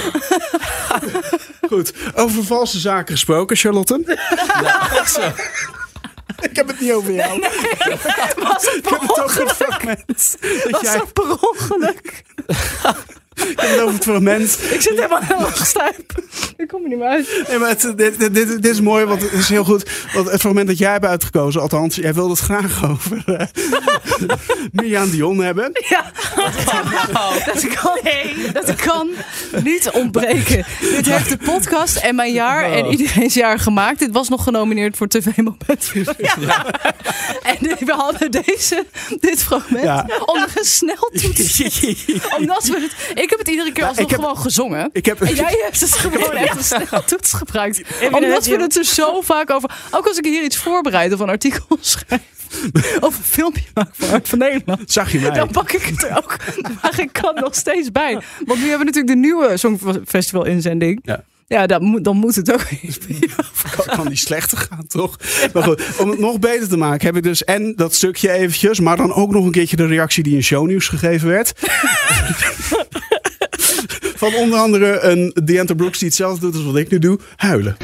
[SPEAKER 2] Goed, over valse zaken gesproken, Charlotte. Ik heb het niet over jou.
[SPEAKER 1] was het
[SPEAKER 2] Ik heb het over het fragment. Dat
[SPEAKER 1] was
[SPEAKER 2] jij...
[SPEAKER 1] zo per ongeluk.
[SPEAKER 2] Ik heb het over het fragment.
[SPEAKER 1] Ik zit helemaal helemaal gestuipt. Ik kom er niet meer uit.
[SPEAKER 2] Nee, maar het, dit, dit, dit, dit is mooi, want het is heel goed. Want het fragment dat jij hebt uitgekozen, althans, jij wilde het graag over eh Mirjam Dion hebben.
[SPEAKER 1] Ja. Dat kan, dat kan niet ontbreken. Dit heeft de podcast en mijn jaar en iedereen's jaar gemaakt. Dit was nog genomineerd voor TV Moment. En we hadden deze, dit fragment
[SPEAKER 2] Ja.
[SPEAKER 1] ongesneld toe te zetten. Omdat we het, ik heb het iedere keer
[SPEAKER 2] Ja,
[SPEAKER 1] alsnog
[SPEAKER 2] Nou, ik heb-
[SPEAKER 1] gewoon gezongen.
[SPEAKER 2] ik heb-
[SPEAKER 1] en jij hebt het gewoon echt een snel toets gebruikt. Omdat we het er zo vaak over... Ook als ik hier iets voorbereid of een artikel schrijf. Of een filmpje maak van Hart van Nederland.
[SPEAKER 2] Zag je mij?
[SPEAKER 1] Dan pak ik het er ook waar ik kan nog steeds bij. Want nu hebben we natuurlijk de nieuwe Songfestival inzending.
[SPEAKER 2] Ja.
[SPEAKER 1] Ja, dat moet, dan moet het ook.
[SPEAKER 2] kan, kan die slechter gaan, toch? Maar goed, om het nog beter te maken heb ik dus en dat stukje eventjes, maar dan ook nog een keertje de reactie die in shownieuws gegeven werd. Van onder andere een Deante Brooks die hetzelfde doet als wat ik nu doe, huilen.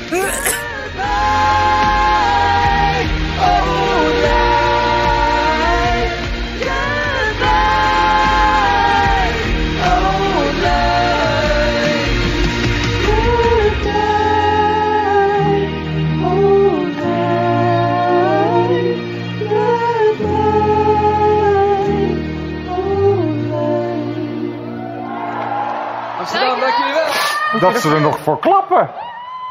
[SPEAKER 9] dat ze er nog voor klappen.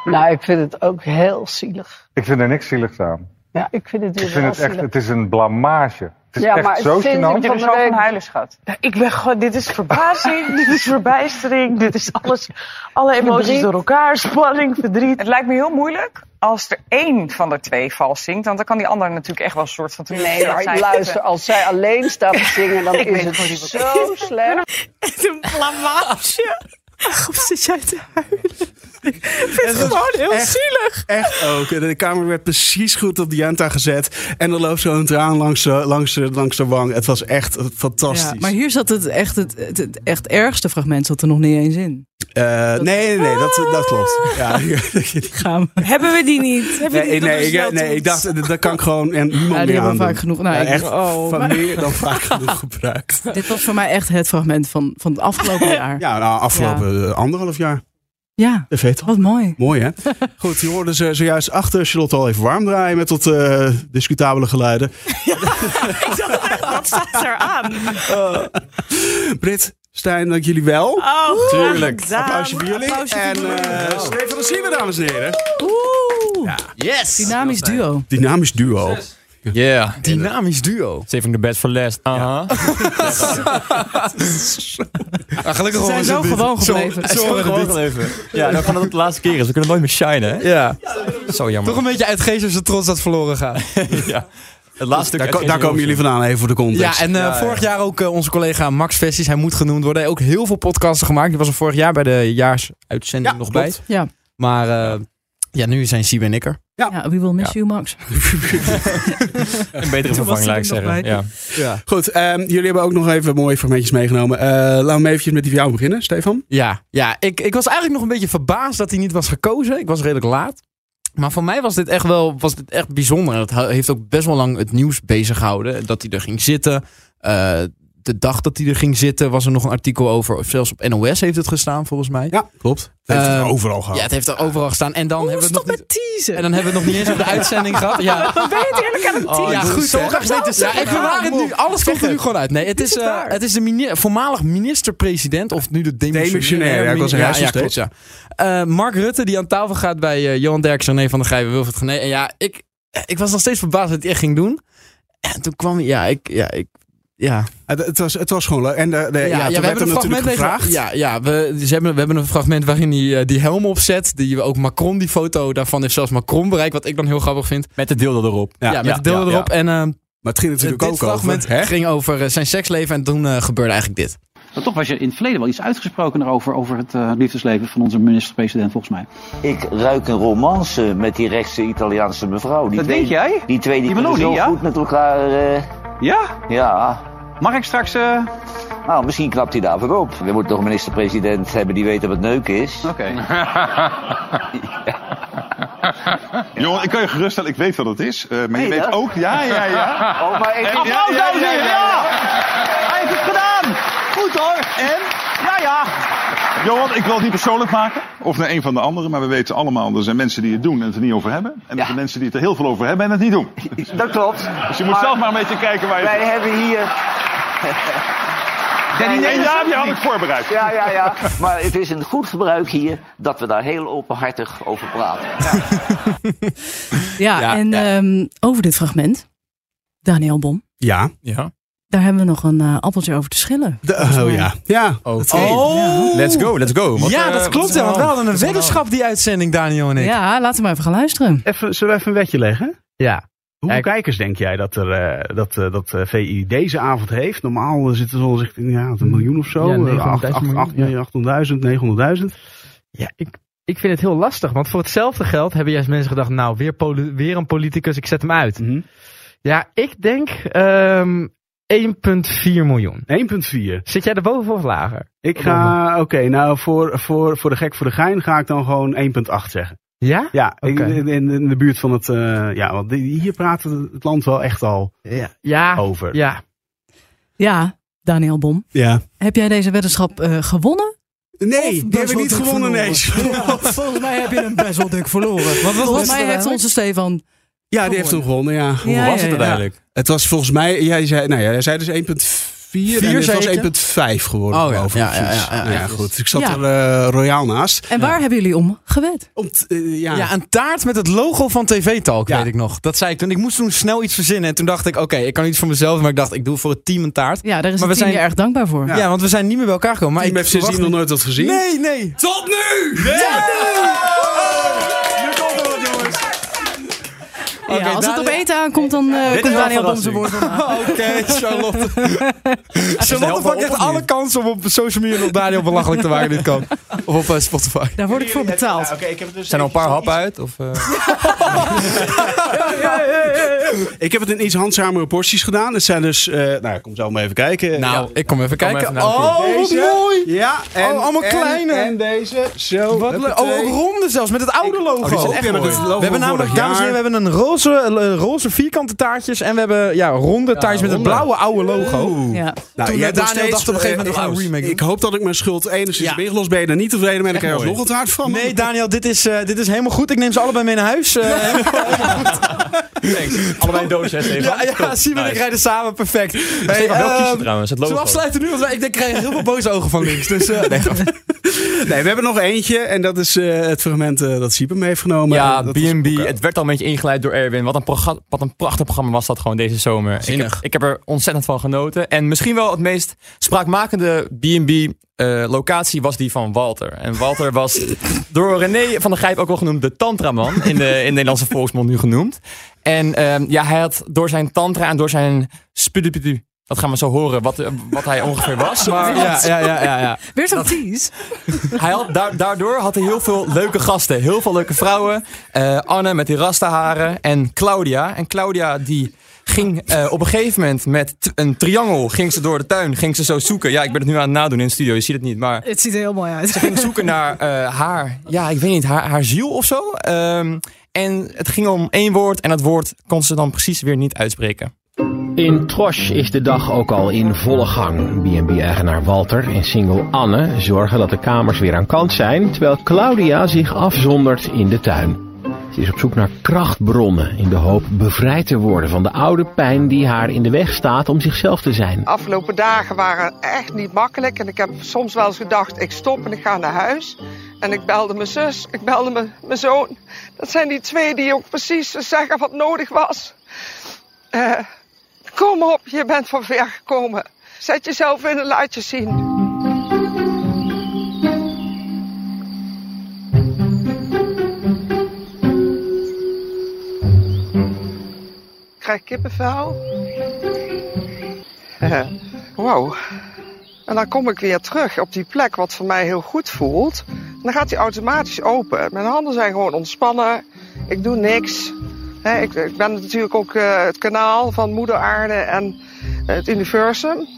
[SPEAKER 12] Nou, ik vind het ook heel zielig.
[SPEAKER 9] Ik vind er niks zieligs aan.
[SPEAKER 12] Ja, ik vind het
[SPEAKER 9] Ik
[SPEAKER 12] dus
[SPEAKER 9] vind
[SPEAKER 12] wel
[SPEAKER 9] het echt,
[SPEAKER 12] zielig.
[SPEAKER 9] het is een blamage. Het is
[SPEAKER 12] Ja,
[SPEAKER 9] echt
[SPEAKER 12] maar het
[SPEAKER 9] zo
[SPEAKER 12] vind ik
[SPEAKER 9] gênant.
[SPEAKER 12] van de week-
[SPEAKER 8] Huilenschat. Ik ben gewoon, dit is verbazing, dit is verbijstering, dit is alles, alle emoties
[SPEAKER 18] Verdriet.
[SPEAKER 8] door elkaar, spanning, verdriet.
[SPEAKER 18] Het lijkt me heel moeilijk als er één van de twee vals zingt. Want dan kan die ander natuurlijk echt wel een soort van...
[SPEAKER 12] Nee, maar luister, als zij alleen staat te zingen, dan
[SPEAKER 18] Ik
[SPEAKER 12] is
[SPEAKER 18] weet
[SPEAKER 12] het
[SPEAKER 18] gewoon niet wat-
[SPEAKER 12] zo slecht.
[SPEAKER 10] Een blamage. Ach, zit jij te huilen? Ik vind het
[SPEAKER 2] Dat is
[SPEAKER 10] gewoon heel
[SPEAKER 2] echt-
[SPEAKER 10] zielig.
[SPEAKER 2] Echt ook. En De kamer werd precies goed op de Jenta gezet. En er loopt zo'n traan langs, de- langs, de- langs de wang. Het was echt eh, fantastisch.
[SPEAKER 1] Ja, maar hier zat het echt, het, het, het echt ergste fragment zat er nog niet eens in. Ah.
[SPEAKER 2] Eh, nee, nee, nee, dat, dat klopt. Ja, Gaan
[SPEAKER 10] Hebben we die niet? Hebben we
[SPEAKER 2] Nee,
[SPEAKER 10] die nog
[SPEAKER 2] nee,
[SPEAKER 10] eens wel
[SPEAKER 2] ik, nee,
[SPEAKER 10] toen?
[SPEAKER 2] ik dacht, eh, dat dat kan ik gewoon en niemand
[SPEAKER 1] Ja, die
[SPEAKER 2] meer
[SPEAKER 1] hebben
[SPEAKER 2] aan
[SPEAKER 1] we vaak genoeg. Nou, ik-
[SPEAKER 2] echt
[SPEAKER 1] oh,
[SPEAKER 2] van
[SPEAKER 1] maar-
[SPEAKER 2] meer dan vaak genoeg gebruikt.
[SPEAKER 1] Dit was voor mij echt het fragment van, van het afgelopen jaar.
[SPEAKER 2] Ja, nou, afgelopen eh, anderhalf jaar.
[SPEAKER 1] Ja,
[SPEAKER 2] De veto.
[SPEAKER 1] wat mooi.
[SPEAKER 2] Mooi, hè? Goed, je hoorde ze zojuist achter Charlotte al even warm draaien met tot eh, discutabele geluiden.
[SPEAKER 10] Wat staat er aan?
[SPEAKER 2] Oh. Brit, Stijn, dank jullie wel.
[SPEAKER 10] Oh,
[SPEAKER 2] Tuurlijk.
[SPEAKER 10] gedaan.
[SPEAKER 2] Applausje voor jullie.
[SPEAKER 10] Applausje
[SPEAKER 2] en
[SPEAKER 10] voor jullie.
[SPEAKER 2] eh Steven van Siemen, dames en heren.
[SPEAKER 1] Yes! Dynamisch duo.
[SPEAKER 2] Dynamisch duo.
[SPEAKER 19] Yeah. Dynamisch duo. Saving the best for last. Aha. Ah, gelukkig
[SPEAKER 1] Ze zijn zo gewoon gebleven.
[SPEAKER 19] Zo, gewoon gebleven. Ja, dan kan dat het de laatste keer is. We kunnen nooit meer shinen, hè? Ja. Zo jammer.
[SPEAKER 13] Toch een beetje uitgeest ze trots dat verloren gaat.
[SPEAKER 19] ja. Het laatste stuk
[SPEAKER 2] Daar,
[SPEAKER 19] uit
[SPEAKER 2] ko-
[SPEAKER 19] Geen
[SPEAKER 2] daar komen
[SPEAKER 19] Emotie.
[SPEAKER 2] jullie vandaan, even voor de context.
[SPEAKER 13] Ja, en eh, vorig jaar ook eh, onze collega Max Vestis, hij moet genoemd worden. Hij heeft ook heel veel podcasten gemaakt. Die was er vorig jaar bij de jaarsuitzending nog
[SPEAKER 2] klopt.
[SPEAKER 13] bij.
[SPEAKER 1] Ja.
[SPEAKER 13] Maar eh, ja, nu zijn Siebe en ik er.
[SPEAKER 1] Ja. we will miss you, Max.
[SPEAKER 19] Een betere
[SPEAKER 2] Toen was
[SPEAKER 19] vervanging,
[SPEAKER 2] hij
[SPEAKER 19] laat ik
[SPEAKER 2] er nog
[SPEAKER 19] zeggen.
[SPEAKER 2] bij.
[SPEAKER 19] Ja.
[SPEAKER 2] Ja. Goed, ehm, jullie hebben ook nog even mooie fragmentjes meegenomen. Eh laten we even met die van jou beginnen, Stefan.
[SPEAKER 13] Ja, ja ik, ik was eigenlijk nog een beetje verbaasd dat hij niet was gekozen. Ik was redelijk laat. Maar voor mij was dit echt wel was dit echt bijzonder. En Het hou- heeft ook best wel lang het nieuws bezig gehouden. Dat hij er ging zitten. Eh, de dag dat hij er ging zitten was er nog een artikel over. Of zelfs op NOS heeft het gestaan volgens mij. Ehm,
[SPEAKER 2] Ja, klopt. Het heeft er overal gehad.
[SPEAKER 13] Ja, het heeft er overal gestaan. En dan hebben we het nog niet... En dan hebben we het nog niet eens op de uitzending gehad. Ja.
[SPEAKER 10] Dan ben je het eerlijk aan het teasen.
[SPEAKER 13] ja, goed. hè? Ja, ik bewaar het nu. Alles komt er nu gewoon uit. Nee, het is, eh, het is de mini- voormalig minister-president, of nu de
[SPEAKER 2] Demissionair,
[SPEAKER 13] demissionair.
[SPEAKER 2] ja, ik was er
[SPEAKER 13] ja,
[SPEAKER 2] juist nog
[SPEAKER 13] klopt, ja. Eh, Mark Rutte, die aan tafel gaat bij eh, Johan Derksen, René van der Gijpen, Wilfred Gené. En ja, ik, eh, ik was nog steeds verbaasd wat hij echt ging doen. En toen kwam hij, ja, ik... Ja, ik ja.
[SPEAKER 2] Het, het was, het was gewoon leuk. En eh, de, de, ja, toen werd er natuurlijk gevraagd.
[SPEAKER 13] deze- Ja, ja we, ze hebben, we hebben een fragment waarin hij eh, die helm opzet. Die ook Macron, die foto daarvan heeft zelfs Macron bereikt. Wat ik dan heel grappig vind.
[SPEAKER 19] Met de dildo erop.
[SPEAKER 13] Ja, met de dildo erop. En, ehm,
[SPEAKER 2] maar het ging natuurlijk
[SPEAKER 13] dit
[SPEAKER 2] ook
[SPEAKER 13] fragment
[SPEAKER 2] over, hè?
[SPEAKER 13] ging over eh, zijn seksleven en toen eh, gebeurde eigenlijk dit.
[SPEAKER 20] Maar toch was je in het verleden wel iets uitgesproken over, over het eh, liefdesleven van onze minister-president, volgens mij.
[SPEAKER 16] Ik ruik een romance met die rechtse Italiaanse mevrouw. Die
[SPEAKER 20] Dat
[SPEAKER 16] twee,
[SPEAKER 20] denk jij?
[SPEAKER 16] Die twee die
[SPEAKER 20] Die
[SPEAKER 16] kunnen
[SPEAKER 20] Meloni,
[SPEAKER 16] zo
[SPEAKER 20] ja?
[SPEAKER 16] goed met elkaar. eh,
[SPEAKER 20] Ja?
[SPEAKER 16] ja.
[SPEAKER 20] Mag ik straks... eh,
[SPEAKER 16] Nou, misschien knapt hij daarvoor op. We moeten nog een minister-president hebben die weet wat neuken is. Oké.
[SPEAKER 21] Jongen, ik kan je geruststellen, ik weet wat het is. eh, maar je
[SPEAKER 16] Meen je
[SPEAKER 21] weet
[SPEAKER 16] dat?
[SPEAKER 21] ook, ja, ja, ja.
[SPEAKER 16] Oh, maar ik-
[SPEAKER 21] En-
[SPEAKER 16] Applaus,
[SPEAKER 21] ja, ja,
[SPEAKER 16] dames en
[SPEAKER 21] ja,
[SPEAKER 16] heren,
[SPEAKER 21] ja,
[SPEAKER 16] ja!
[SPEAKER 21] ja.
[SPEAKER 20] Hij heeft het gedaan! Goed hoor! En? Ja, ja!
[SPEAKER 21] Johan, ik wil het niet persoonlijk maken. Of naar een van de anderen. Maar we weten allemaal, er zijn mensen die het doen en het er niet over hebben. En er zijn mensen die het er heel veel over hebben en het niet doen.
[SPEAKER 16] Dat klopt.
[SPEAKER 21] Dus je moet zelf maar een beetje kijken waar je...
[SPEAKER 16] Wij hebben hier.
[SPEAKER 21] En
[SPEAKER 16] Wij-
[SPEAKER 21] ja, die had ik voorbereid.
[SPEAKER 16] Ja, ja, ja. Maar het is een goed gebruik hier dat we daar heel openhartig over praten.
[SPEAKER 1] Ja, en ehm, over dit fragment. Daniel Bom.
[SPEAKER 2] Ja.
[SPEAKER 13] ja.
[SPEAKER 1] Daar hebben we nog een eh, appeltje over te schillen.
[SPEAKER 2] oh ja. Ja.
[SPEAKER 13] Oh.
[SPEAKER 2] Oh.
[SPEAKER 19] Let's go, let's go. Wat,
[SPEAKER 13] ja,
[SPEAKER 19] eh,
[SPEAKER 13] dat
[SPEAKER 19] wat
[SPEAKER 13] klopt.
[SPEAKER 19] is
[SPEAKER 13] hè,
[SPEAKER 19] er
[SPEAKER 13] Want we
[SPEAKER 19] aan de
[SPEAKER 13] hadden een
[SPEAKER 19] hand?
[SPEAKER 13] weddenschap die uitzending, Daniel en ik.
[SPEAKER 1] Ja, laten we maar even gaan luisteren.
[SPEAKER 2] Even, zullen we even een wetje leggen?
[SPEAKER 13] Ja.
[SPEAKER 2] Hoeveel kijkers denk jij dat, er, eh, dat, eh, dat eh, VI deze avond heeft? Normaal eh, zitten ze al zeg, ja, een miljoen of zo.
[SPEAKER 22] Ja,
[SPEAKER 2] eh,
[SPEAKER 22] 900.000
[SPEAKER 2] acht-
[SPEAKER 22] miljoen,
[SPEAKER 2] acht-
[SPEAKER 22] ja.
[SPEAKER 2] nee, 800.000, 900.000.
[SPEAKER 22] Ja, ik, ik vind het heel lastig. Want voor hetzelfde geld hebben juist mensen gedacht... nou, weer, poli- weer een politicus, ik zet hem uit.
[SPEAKER 2] Mhm.
[SPEAKER 22] Ja, ik denk ehm 1,4 miljoen.
[SPEAKER 2] 1,4.
[SPEAKER 22] Zit jij er boven of lager?
[SPEAKER 2] Ik ga, oké, nou voor, voor, voor de gek voor de gein ga ik dan gewoon 1,8 zeggen.
[SPEAKER 22] Ja?
[SPEAKER 2] Ja, in-
[SPEAKER 22] Oké.
[SPEAKER 2] in, in, in de buurt van het, eh, ja, want die- hier praat het het land wel echt al
[SPEAKER 22] ja,
[SPEAKER 2] over.
[SPEAKER 22] Ja.
[SPEAKER 1] Ja, Daniel Bom.
[SPEAKER 2] Ja.
[SPEAKER 1] Heb jij deze weddenschap eh, gewonnen?
[SPEAKER 2] Nee, die
[SPEAKER 1] best
[SPEAKER 2] hebben
[SPEAKER 1] wel
[SPEAKER 2] niet
[SPEAKER 1] dik
[SPEAKER 2] gewonnen, nee.
[SPEAKER 1] verloren?
[SPEAKER 13] volgens mij heb je hem best wel dik verloren.
[SPEAKER 1] Volgens mij heeft onze Stefan...
[SPEAKER 2] Ja, die heeft hem gewonnen, ja.
[SPEAKER 1] Hoe Ja, was ja, het ja. uiteindelijk?
[SPEAKER 2] Het was volgens mij, jij zei, nou ja, hij zei dus 1,4 4.
[SPEAKER 13] Vier
[SPEAKER 2] en
[SPEAKER 13] zeker?
[SPEAKER 2] het was 1,5 geworden.
[SPEAKER 13] Oh ja,
[SPEAKER 2] geloof ik,
[SPEAKER 13] ja, ja,
[SPEAKER 2] precies.
[SPEAKER 13] ja, ja,
[SPEAKER 2] Nou ja,
[SPEAKER 13] ja.
[SPEAKER 2] goed. Ik zat
[SPEAKER 13] Ja.
[SPEAKER 2] er eh, royaal naast.
[SPEAKER 1] En waar hebben jullie om gewet?
[SPEAKER 2] Om eh, ja.
[SPEAKER 13] Ja, een taart met het logo van TV Talk, weet ik nog. Dat zei ik toen. Ik moest toen snel iets verzinnen. En toen dacht ik, oké, ik kan iets voor mezelf. Maar ik dacht, ik doe voor het team een taart.
[SPEAKER 1] Ja, daar is
[SPEAKER 13] maar
[SPEAKER 1] het team je erg dankbaar voor.
[SPEAKER 13] Ja. want we zijn niet meer bij elkaar gekomen. Maar
[SPEAKER 2] Team
[SPEAKER 13] ik
[SPEAKER 2] heeft sindsdien
[SPEAKER 13] verwacht-
[SPEAKER 2] nog nooit dat gezien.
[SPEAKER 13] Nee, nee.
[SPEAKER 2] Tot nu!
[SPEAKER 1] Ja, als het op
[SPEAKER 13] Daniel-
[SPEAKER 1] eten aankomt, dan eh,
[SPEAKER 13] Dit
[SPEAKER 1] komt
[SPEAKER 13] is wel
[SPEAKER 1] Daniel op onze woord.
[SPEAKER 13] verrassing. Oké, Charlotte. Charlotte
[SPEAKER 1] helemaal
[SPEAKER 13] pakt echt
[SPEAKER 1] op, of
[SPEAKER 13] alle
[SPEAKER 1] niet?
[SPEAKER 13] kansen om op social media nog Daniel belachelijk te maken dit kan. Of op eh, Spotify.
[SPEAKER 1] Daar word ik voor betaald.
[SPEAKER 13] Zijn er een paar happen uit? Of,
[SPEAKER 2] Ik heb het in iets handzamere porties gedaan. Het zijn dus, eh, nou, ik kom zo maar even kijken.
[SPEAKER 13] Nou, ik kom even
[SPEAKER 2] Kom
[SPEAKER 13] kijken.
[SPEAKER 2] even naar de
[SPEAKER 13] oh,
[SPEAKER 2] toe.
[SPEAKER 13] wat
[SPEAKER 2] Deze.
[SPEAKER 13] mooi!
[SPEAKER 2] Ja, en-
[SPEAKER 13] oh, allemaal
[SPEAKER 2] en-
[SPEAKER 13] kleine.
[SPEAKER 2] en deze. Zo.
[SPEAKER 13] Wat le- oh,
[SPEAKER 2] Huppatee.
[SPEAKER 13] ook ronde zelfs, met het oude logo.
[SPEAKER 2] Oh, die zijn echt Ja, mooi. dat is het logo
[SPEAKER 13] we hebben
[SPEAKER 2] van
[SPEAKER 13] namelijk,
[SPEAKER 2] vorig
[SPEAKER 13] dames en
[SPEAKER 2] jaar.
[SPEAKER 13] heren, we hebben een roze, eh, roze vierkante taartjes. En we hebben ja, ronde taartjes met het
[SPEAKER 2] ronde.
[SPEAKER 13] blauwe oude logo.
[SPEAKER 1] Ja.
[SPEAKER 13] Nou, Toen
[SPEAKER 2] jij
[SPEAKER 13] jij
[SPEAKER 2] hebt
[SPEAKER 13] Daniel
[SPEAKER 2] nog steeds-
[SPEAKER 13] dacht op een gegeven moment, we
[SPEAKER 2] eh,
[SPEAKER 13] gaan een remake doen.
[SPEAKER 2] Ik hoop dat ik mijn schuld enigszins
[SPEAKER 13] Ja.
[SPEAKER 2] ben ingelost. Ben je er niet tevreden mee, dan krijg je
[SPEAKER 13] Mooi.
[SPEAKER 2] alsnog het hart van me.
[SPEAKER 13] Nee, Daniel, dit is, eh, dit is helemaal goed. Ik neem ze allebei mee naar huis. Eh,
[SPEAKER 19] Allebei een doosje, Stefan.
[SPEAKER 13] ja, ja, zie we, ik rijden samen. Perfect. Hey,
[SPEAKER 19] Stefan, welk kies je
[SPEAKER 13] ehm,
[SPEAKER 19] trouwens? Het logo.
[SPEAKER 13] Zullen we afsluiten nu? Want wij- ik denk, ik krijg heel veel boze ogen van links. Dus, eh, nee, grapje.
[SPEAKER 2] Nee, we hebben nog eentje. En dat is eh, het fragment eh, dat Siep hem heeft genomen.
[SPEAKER 19] Ja,
[SPEAKER 2] En dat
[SPEAKER 19] B&B. Het werd al een beetje ingeleid door Erwin. Wat een, proga- wat een prachtig programma was dat gewoon deze zomer. Ik heb, ik heb er ontzettend van genoten. En misschien wel het meest spraakmakende B&B eh, locatie was die van Walter. En Walter was door René van der Gijp ook al genoemd de tantraman. In de, in de Nederlandse volksmond nu genoemd. En ehm, ja, hij had door zijn tantra en door zijn spudupudu... Dat gaan we zo horen, wat, wat hij ongeveer was. Maar ja, ja, ja, ja, ja.
[SPEAKER 1] Weer zo'n tease.
[SPEAKER 19] Hij had, daar- daardoor had hij heel veel leuke gasten. Heel veel leuke vrouwen. Eh, Anne met die rastaharen. En Claudia. En Claudia die ging eh, op een gegeven moment met t- een triangel... ging ze door de tuin, ging ze zo zoeken. Ja, ik ben het nu aan het nadoen in de studio. Je ziet het niet, maar...
[SPEAKER 1] Het ziet er heel mooi uit.
[SPEAKER 19] Ze ging zoeken naar eh, haar, ja, ik weet niet, haar, haar ziel of zo.
[SPEAKER 13] Eh,
[SPEAKER 19] Ehm, en het ging om één woord. En dat woord kon ze dan precies weer niet uitspreken.
[SPEAKER 5] In Trosh is de dag ook al in volle gang. B&B-eigenaar Walter en single Anne zorgen dat de kamers weer aan kant zijn, terwijl Claudia zich afzondert in de tuin. Ze is op zoek naar krachtbronnen in de hoop bevrijd te worden van de oude pijn die haar in de weg staat om zichzelf te zijn.
[SPEAKER 6] afgelopen dagen waren echt niet makkelijk. En ik heb soms wel eens gedacht, ik stop en ik ga naar huis. En ik belde mijn zus, ik belde mijn, mijn zoon. Dat zijn die twee die ook precies zeggen wat nodig was. Eh, kom op, je bent van ver gekomen. Zet jezelf in en laat je zien. Ik krijg kippenvel. Eh, Wauw. En dan kom ik weer terug op die plek wat voor mij heel goed voelt. En dan gaat die automatisch open. Mijn handen zijn gewoon ontspannen. Ik doe niks. Hè, ik, ik ben natuurlijk ook eh, het kanaal van Moeder Aarde en eh, het universum.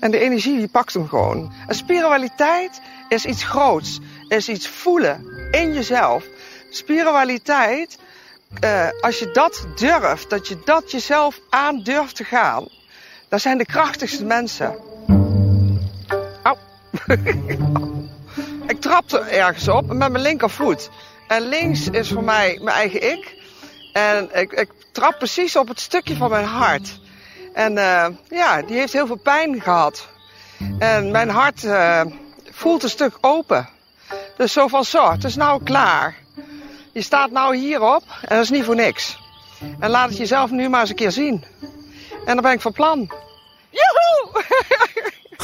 [SPEAKER 6] En de energie die pakt hem gewoon. En spiritualiteit is iets groots. Is iets voelen in jezelf. Spiritualiteit, eh, als je dat durft, dat je dat jezelf aan durft te gaan. Dat zijn de krachtigste mensen. Au. ik trapte ergens op met mijn linkervoet. En links is voor mij mijn eigen ik. En ik, ik trap precies op het stukje van mijn hart. En eh, ja, die heeft heel veel pijn gehad. En mijn hart eh, voelt een stuk open. Dus zo van zo, het is nou klaar. Je staat nou hierop en dat is niet voor niks. En laat het jezelf nu maar eens een keer zien. En dan ben ik van plan. Joehoe!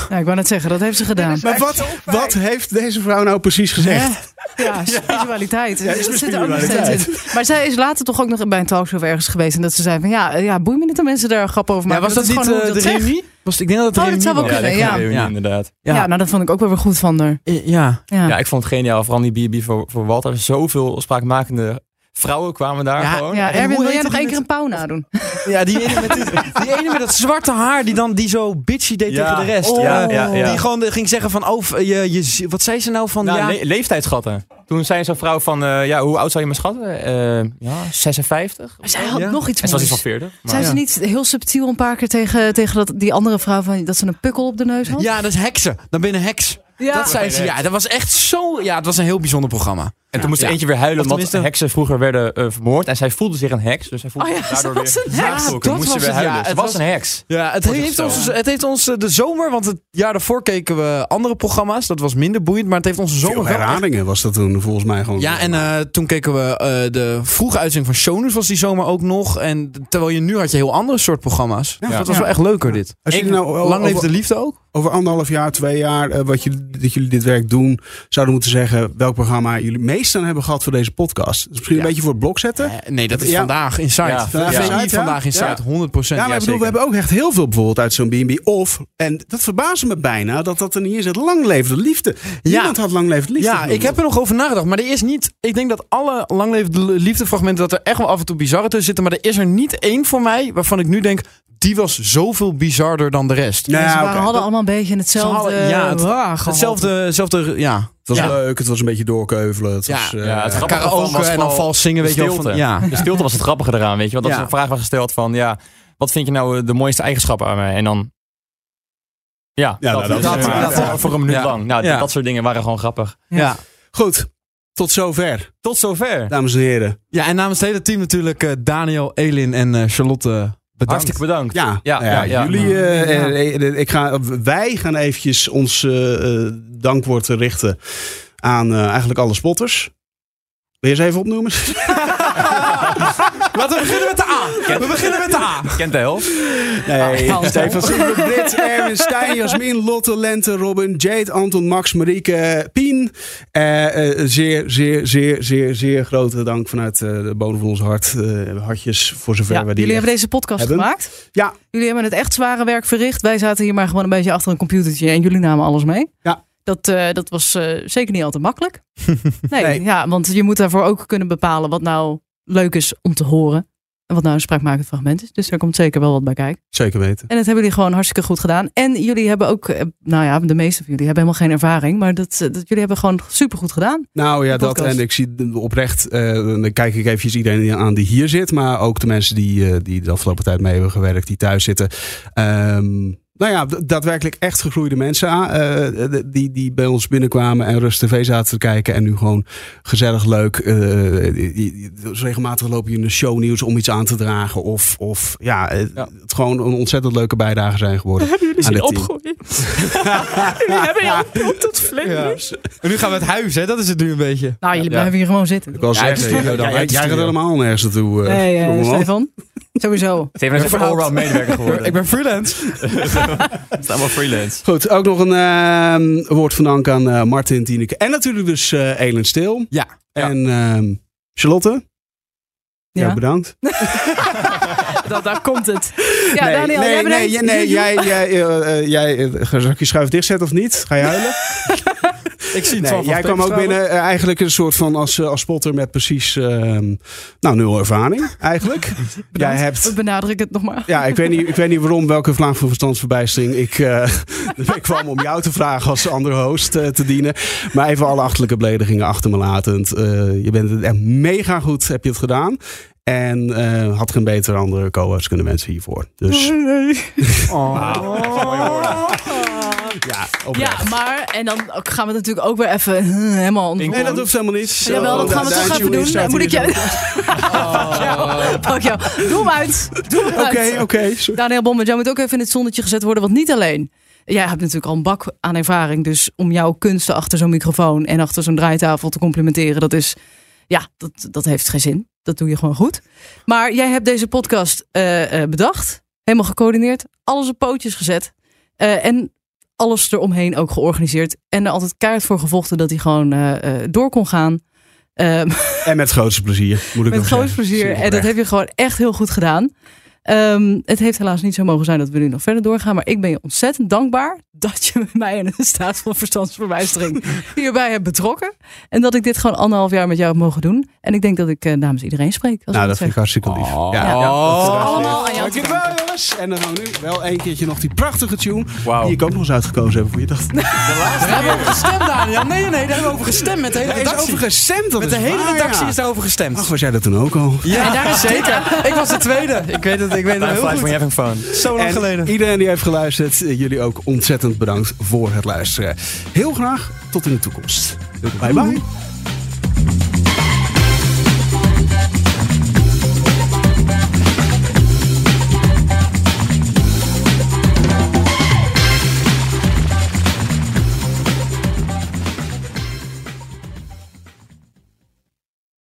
[SPEAKER 1] Nou, ik wou net zeggen, dat heeft ze gedaan.
[SPEAKER 2] Maar wat, wat heeft deze vrouw nou precies gezegd?
[SPEAKER 1] Ja, spiritualiteit.
[SPEAKER 2] Ja, is
[SPEAKER 1] dat
[SPEAKER 2] mijn
[SPEAKER 1] zit er ook nog steeds
[SPEAKER 2] spiritualiteit.
[SPEAKER 1] in. Maar zij is later toch ook nog bij een talkshow ergens geweest. En dat ze zei van, ja, eh, ja boeien me niet dat mensen daar grap over
[SPEAKER 13] Ja,
[SPEAKER 1] maken.
[SPEAKER 13] was dat
[SPEAKER 1] is
[SPEAKER 13] niet
[SPEAKER 1] gewoon hoe
[SPEAKER 13] eh, de
[SPEAKER 1] ik dat zeg.
[SPEAKER 13] reunie? Was, ik denk dat het
[SPEAKER 1] Oh, dat zou wel
[SPEAKER 13] was.
[SPEAKER 1] kunnen, Ja, dat ja.
[SPEAKER 19] Ja, inderdaad.
[SPEAKER 1] Ja. nou dat vond ik ook wel weer goed van haar.
[SPEAKER 13] Ja.
[SPEAKER 1] Ja.
[SPEAKER 19] Ja, ik vond het geniaal. Vooral die B&B voor, voor Walter. Zoveel spraakmakende vrouwen kwamen daar
[SPEAKER 13] Oh,
[SPEAKER 19] gewoon.
[SPEAKER 1] Ja,
[SPEAKER 19] En hoe
[SPEAKER 1] Erwin, wil jij
[SPEAKER 19] heette
[SPEAKER 1] nog
[SPEAKER 19] die
[SPEAKER 1] één
[SPEAKER 19] met-
[SPEAKER 1] keer een pauw nadoen?
[SPEAKER 13] Ja, die ene, met die, die ene met dat zwarte haar die dan die zo bitchy deed
[SPEAKER 19] Ja.
[SPEAKER 13] tegen de rest.
[SPEAKER 19] Ja, ja, ja.
[SPEAKER 13] Die gewoon eh, ging zeggen van, oh, je, je, zie- wat zei ze nou van...
[SPEAKER 19] Nou,
[SPEAKER 13] ja,
[SPEAKER 19] le- leeftijdschatten. Toen zei zo'n vrouw van, eh, ja, hoe oud zou je me schatten? Eh, ja, 56?
[SPEAKER 1] Maar zij had nog iets
[SPEAKER 19] En ze was iets van
[SPEAKER 1] moois.
[SPEAKER 19] 40. maar-
[SPEAKER 1] Zijn ze niet heel subtiel een paar keer tegen, tegen dat, die andere vrouw van dat ze een pukkel op de neus had?
[SPEAKER 13] ja, dat is heksen. Dan ben je een heks.
[SPEAKER 1] Ja.
[SPEAKER 13] Dat zei ze. Ja, dat was echt zo... Ja, het was een heel bijzonder programma.
[SPEAKER 19] En toen moest er
[SPEAKER 1] Ja.
[SPEAKER 19] eentje weer huilen
[SPEAKER 1] Of
[SPEAKER 19] omdat
[SPEAKER 1] tenminste-
[SPEAKER 19] heksen vroeger werden eh, vermoord. En zij voelde zich een heks. Dus zij voelde
[SPEAKER 1] Oh ja,
[SPEAKER 19] zich
[SPEAKER 1] ze
[SPEAKER 19] daardoor
[SPEAKER 1] was
[SPEAKER 19] weer
[SPEAKER 1] een heks.
[SPEAKER 19] aangesproken.
[SPEAKER 1] Ja, dat
[SPEAKER 19] moest ze
[SPEAKER 1] was
[SPEAKER 19] weer
[SPEAKER 1] het, ja.
[SPEAKER 19] huilen. Ze
[SPEAKER 1] Het
[SPEAKER 19] was
[SPEAKER 1] was-
[SPEAKER 19] een heks.
[SPEAKER 13] Ja, het
[SPEAKER 19] Voor
[SPEAKER 13] heeft,
[SPEAKER 19] zichzelf.
[SPEAKER 13] ons, het heeft ons eh, de zomer, want het jaar daarvoor keken we andere programma's. Dat was minder boeiend, maar het heeft onze zomer
[SPEAKER 2] Veel
[SPEAKER 13] wel echt-
[SPEAKER 2] herhalingen was dat toen volgens mij gewoon.
[SPEAKER 13] Ja, en eh, toen keken we eh, de vroege uitzending van Shownieuws was die zomer ook nog. En d- terwijl je nu had je heel andere soort programma's. Dus dat was
[SPEAKER 2] Ja.
[SPEAKER 13] wel echt leuker dit.
[SPEAKER 2] Als jullie
[SPEAKER 13] Ik-
[SPEAKER 2] nou o-
[SPEAKER 13] Lang
[SPEAKER 2] over-
[SPEAKER 13] leefde de liefde ook?
[SPEAKER 2] Over anderhalf jaar, twee jaar, eh, wat jullie, dat jullie dit werk doen, zouden moeten zeggen welk programma jullie meest aan hebben gehad voor deze podcast. Dus misschien een beetje voor het blok zetten.
[SPEAKER 13] Eh, nee, dat is vandaag Inside.
[SPEAKER 2] Ja,
[SPEAKER 13] Vandaag Inside, Vandaag Inside, 100%,
[SPEAKER 2] Ja, maar
[SPEAKER 13] ja,
[SPEAKER 2] ik bedoel, we
[SPEAKER 13] zeker.
[SPEAKER 2] hebben ook echt heel veel bijvoorbeeld uit zo'n B&B. Of, en dat verbaasde me bijna, dat dat er niet in zit. Lang leven de liefde. Niemand had lang leven de liefde.
[SPEAKER 13] Ja, ik heb er nog over nagedacht. Maar er is niet. Ik denk dat alle langlevende liefdefragmenten. dat er echt wel af en toe bizarre tussen zitten. Maar er is er niet één voor mij. waarvan ik nu denk. die was zoveel bizarder dan de rest.
[SPEAKER 1] Nou
[SPEAKER 2] Nou
[SPEAKER 1] Ja,
[SPEAKER 19] Dus
[SPEAKER 1] ze waren, hadden allemaal een beetje hetzelfde.
[SPEAKER 13] ja, het-
[SPEAKER 1] ah, gehalte.
[SPEAKER 13] hetzelfde, hetzelfde. Ja. Het
[SPEAKER 2] was
[SPEAKER 13] ja.
[SPEAKER 2] leuk, het was een beetje doorkeuvelen. Het was, eh,
[SPEAKER 19] Dus, Ja, het grappige ervan
[SPEAKER 13] karaoke
[SPEAKER 19] was
[SPEAKER 13] en
[SPEAKER 19] vooral
[SPEAKER 13] dan vals zingen,
[SPEAKER 19] de
[SPEAKER 13] weet je wel, van-
[SPEAKER 19] stilte.
[SPEAKER 13] ja.
[SPEAKER 19] De stilte was het grappige eraan, weet je. Want dat
[SPEAKER 13] Ja.
[SPEAKER 19] is een vraag waar gesteld van, ja, wat vind je nou eh, de mooiste eigenschap aan mij? En dan... Ja,
[SPEAKER 2] Ja,
[SPEAKER 19] dat,
[SPEAKER 2] nou, dat-
[SPEAKER 19] dat-
[SPEAKER 2] dat-
[SPEAKER 19] dat-
[SPEAKER 2] ja.
[SPEAKER 19] voor een minuut
[SPEAKER 2] Ja.
[SPEAKER 19] lang. Nou,
[SPEAKER 2] Ja.
[SPEAKER 19] dat soort dingen waren gewoon grappig.
[SPEAKER 13] Ja.
[SPEAKER 2] Goed, tot zover.
[SPEAKER 19] Tot zover.
[SPEAKER 2] Dames en heren.
[SPEAKER 13] Ja, en namens het hele team natuurlijk. eh, Daniel, Elin en eh, Charlotte. Bedankt.
[SPEAKER 19] Hartstikke bedankt.
[SPEAKER 2] Ja,
[SPEAKER 19] ja,
[SPEAKER 2] ja,
[SPEAKER 19] ja, ja.
[SPEAKER 2] jullie. eh, eh, eh, ik ga, wij gaan eventjes ons eh, eh, dankwoord richten aan eh, eigenlijk alle spotters. Wil je ze even opnoemen?
[SPEAKER 13] Laten we beginnen met de A. We beginnen met de A.
[SPEAKER 19] Kent de helft?
[SPEAKER 1] Ah,
[SPEAKER 2] Nee,
[SPEAKER 13] Hans.
[SPEAKER 2] Stefan Silver, Britt, Erwin, Stijn, Jasmin, Lotte, Lente, Robin, Jade, Anton, Max, Marieke, Pien. Eh, eh, zeer, zeer, zeer, zeer, zeer grote dank vanuit eh, de bodem van ons hart. eh, hartjes voor zover we die
[SPEAKER 1] Jullie hebben
[SPEAKER 2] echt
[SPEAKER 1] deze podcast
[SPEAKER 2] hebben.
[SPEAKER 1] gemaakt.
[SPEAKER 2] Ja.
[SPEAKER 1] Jullie hebben het echt zware werk verricht. Wij zaten hier maar gewoon een beetje achter een computertje en jullie namen alles mee.
[SPEAKER 2] Ja.
[SPEAKER 1] Dat, eh, dat was eh, zeker niet altijd makkelijk. Nee, Ja, want je moet daarvoor ook kunnen bepalen wat nou leuk is om te horen. En wat nou een spraakmakend fragment is. Dus daar komt zeker wel wat bij kijken.
[SPEAKER 2] Zeker weten.
[SPEAKER 1] En dat hebben jullie gewoon hartstikke goed gedaan. En jullie hebben ook, eh, nou ja, de meeste van jullie hebben helemaal geen ervaring. Maar dat, eh, dat jullie hebben gewoon supergoed gedaan.
[SPEAKER 2] Nou ja,
[SPEAKER 1] De
[SPEAKER 2] dat.
[SPEAKER 1] podcast.
[SPEAKER 2] En ik zie oprecht, eh, dan kijk ik eventjes iedereen aan die hier zit. Maar ook de mensen die, eh, die de afgelopen tijd mee hebben gewerkt, die thuis zitten. Ehm, nou ja, d- daadwerkelijk echt gegroeide mensen aan, eh, d- die, die bij ons binnenkwamen en rust tv zaten te kijken. En nu gewoon gezellig leuk. eh, die- die- dus regelmatig lopen je in de shownieuws om iets aan te dragen. Of, of ja, eh, het gewoon een ontzettend leuke bijdrage zijn geworden. aan dit team.
[SPEAKER 1] jullie hebben je op tot vlinders.
[SPEAKER 13] En nu gaan we het huis, hè? Dat is het nu een beetje.
[SPEAKER 1] Nou, jullie blijven hier gewoon zitten.
[SPEAKER 2] Ik wil zeggen, Guido, dan- jij gaat helemaal nergens naartoe. eh,
[SPEAKER 1] Nee, eh,
[SPEAKER 2] jongeman.
[SPEAKER 1] Stefan. Sowieso.
[SPEAKER 19] Steven is even
[SPEAKER 1] Überhaupt.
[SPEAKER 19] allround medewerker geworden.
[SPEAKER 13] Ik ben freelance.
[SPEAKER 19] Het is allemaal freelance.
[SPEAKER 2] Goed, ook nog een ehm, woord van dank aan eh, Martin, Tineke en natuurlijk dus eh Elin Stil.
[SPEAKER 13] Ja.
[SPEAKER 2] En ehm, Charlotte. Ja,
[SPEAKER 1] Ja.
[SPEAKER 2] bedankt.
[SPEAKER 1] Dat, daar komt het. Ja, Daniel,
[SPEAKER 2] nee,
[SPEAKER 1] jij
[SPEAKER 2] nee,
[SPEAKER 1] bedankt.
[SPEAKER 2] jij- nee, jij, jij, eh, eh, jij eh, ga- zal ik je schuif dichtzetten of niet? Ga je huilen?
[SPEAKER 13] Ik zie het
[SPEAKER 2] Nee,
[SPEAKER 13] wel.
[SPEAKER 2] jij kwam ook binnen eh, eigenlijk een soort van als, eh, als spotter met precies ehm, nou, nul ervaring eigenlijk. jij hebt
[SPEAKER 1] We benadrukken het nog maar.
[SPEAKER 2] Ja, ik weet niet, ik weet niet waarom, welke vlaag van verstandsverbijstering ik, eh, ik kwam om jou te vragen als andere host eh, te dienen. Maar even alle achterlijke beledigingen achter me latend. Eh, je bent het echt mega goed, heb je het gedaan. En eh, had geen betere andere co-host kunnen wensen hiervoor. Dus
[SPEAKER 1] Oh.
[SPEAKER 2] ja, oprecht.
[SPEAKER 1] Ja, maar en dan gaan we natuurlijk ook weer even huh, helemaal ontmoeten.
[SPEAKER 2] Nee, dat hoeft helemaal niet.
[SPEAKER 1] Jawel, dat
[SPEAKER 2] Zo,
[SPEAKER 1] gaan we
[SPEAKER 2] daar-
[SPEAKER 1] toch
[SPEAKER 2] daar
[SPEAKER 1] even
[SPEAKER 2] is
[SPEAKER 1] doen.
[SPEAKER 2] Julie
[SPEAKER 1] Dan moet ik
[SPEAKER 2] staat
[SPEAKER 1] jou...
[SPEAKER 2] Oh.
[SPEAKER 1] Pak jou. Doe hem uit. Doe hem uit.
[SPEAKER 2] Oké, oké, sorry.
[SPEAKER 1] Daniel Bommer, jij moet ook even in het zonnetje gezet worden. Want niet alleen... Jij hebt natuurlijk al een bak aan ervaring. Dus om jouw kunsten achter zo'n microfoon en achter zo'n draaitafel te complimenteren... dat is... Ja, dat, dat heeft geen zin. Dat doe je gewoon goed. Maar jij hebt deze podcast eh, eh, bedacht. Helemaal gecoördineerd. Alles op pootjes gezet. eh, en alles eromheen ook georganiseerd. En er altijd keihard voor gevochten dat hij gewoon eh, eh, door kon gaan. Ehm,
[SPEAKER 2] eh, En met het grootste plezier, moet ik
[SPEAKER 1] met
[SPEAKER 2] nog
[SPEAKER 1] groot
[SPEAKER 2] zeggen.
[SPEAKER 1] plezier.
[SPEAKER 2] Zeker
[SPEAKER 1] En dat
[SPEAKER 2] oprecht.
[SPEAKER 1] heb je gewoon echt heel goed gedaan. Ehm, het heeft helaas niet zo mogen zijn dat we nu nog verder doorgaan. Maar ik ben je ontzettend dankbaar dat je mij in een staat van verstandsverwijstering hierbij hebt betrokken. En dat ik dit gewoon anderhalf jaar met jou heb mogen doen. En ik denk dat ik eh, namens iedereen spreek. Als
[SPEAKER 2] Nou,
[SPEAKER 1] ik dat
[SPEAKER 2] dat vind ik
[SPEAKER 1] zeg.
[SPEAKER 2] hartstikke lief. Ja.
[SPEAKER 1] Ja.
[SPEAKER 2] dat is
[SPEAKER 1] Allemaal aan jou te
[SPEAKER 2] Dankjewel jongens. En dan gaan we nu wel een keertje nog die prachtige tune. Die ik ook nog eens uitgekozen heb voor je dacht.
[SPEAKER 13] Daar hebben we over gestemd, Daniel. Nee, nee, nee. Daar hebben we over gestemd. Met de hele
[SPEAKER 2] Daar is
[SPEAKER 13] redactie.
[SPEAKER 2] over gestemd, dat
[SPEAKER 13] Met
[SPEAKER 2] is
[SPEAKER 13] de hele
[SPEAKER 2] waar,
[SPEAKER 13] redactie
[SPEAKER 2] ja.
[SPEAKER 13] is daarover gestemd.
[SPEAKER 2] Ach, was jij dat toen ook al?
[SPEAKER 13] Ja, daar is zeker. Ik was de tweede. Ik weet het, ik weet het heel goed. Zo lang
[SPEAKER 2] En
[SPEAKER 13] geleden.
[SPEAKER 2] Iedereen die heeft geluisterd, eh, jullie ook ontzettend bedankt voor het luisteren. Heel graag tot in de toekomst. Bye bye.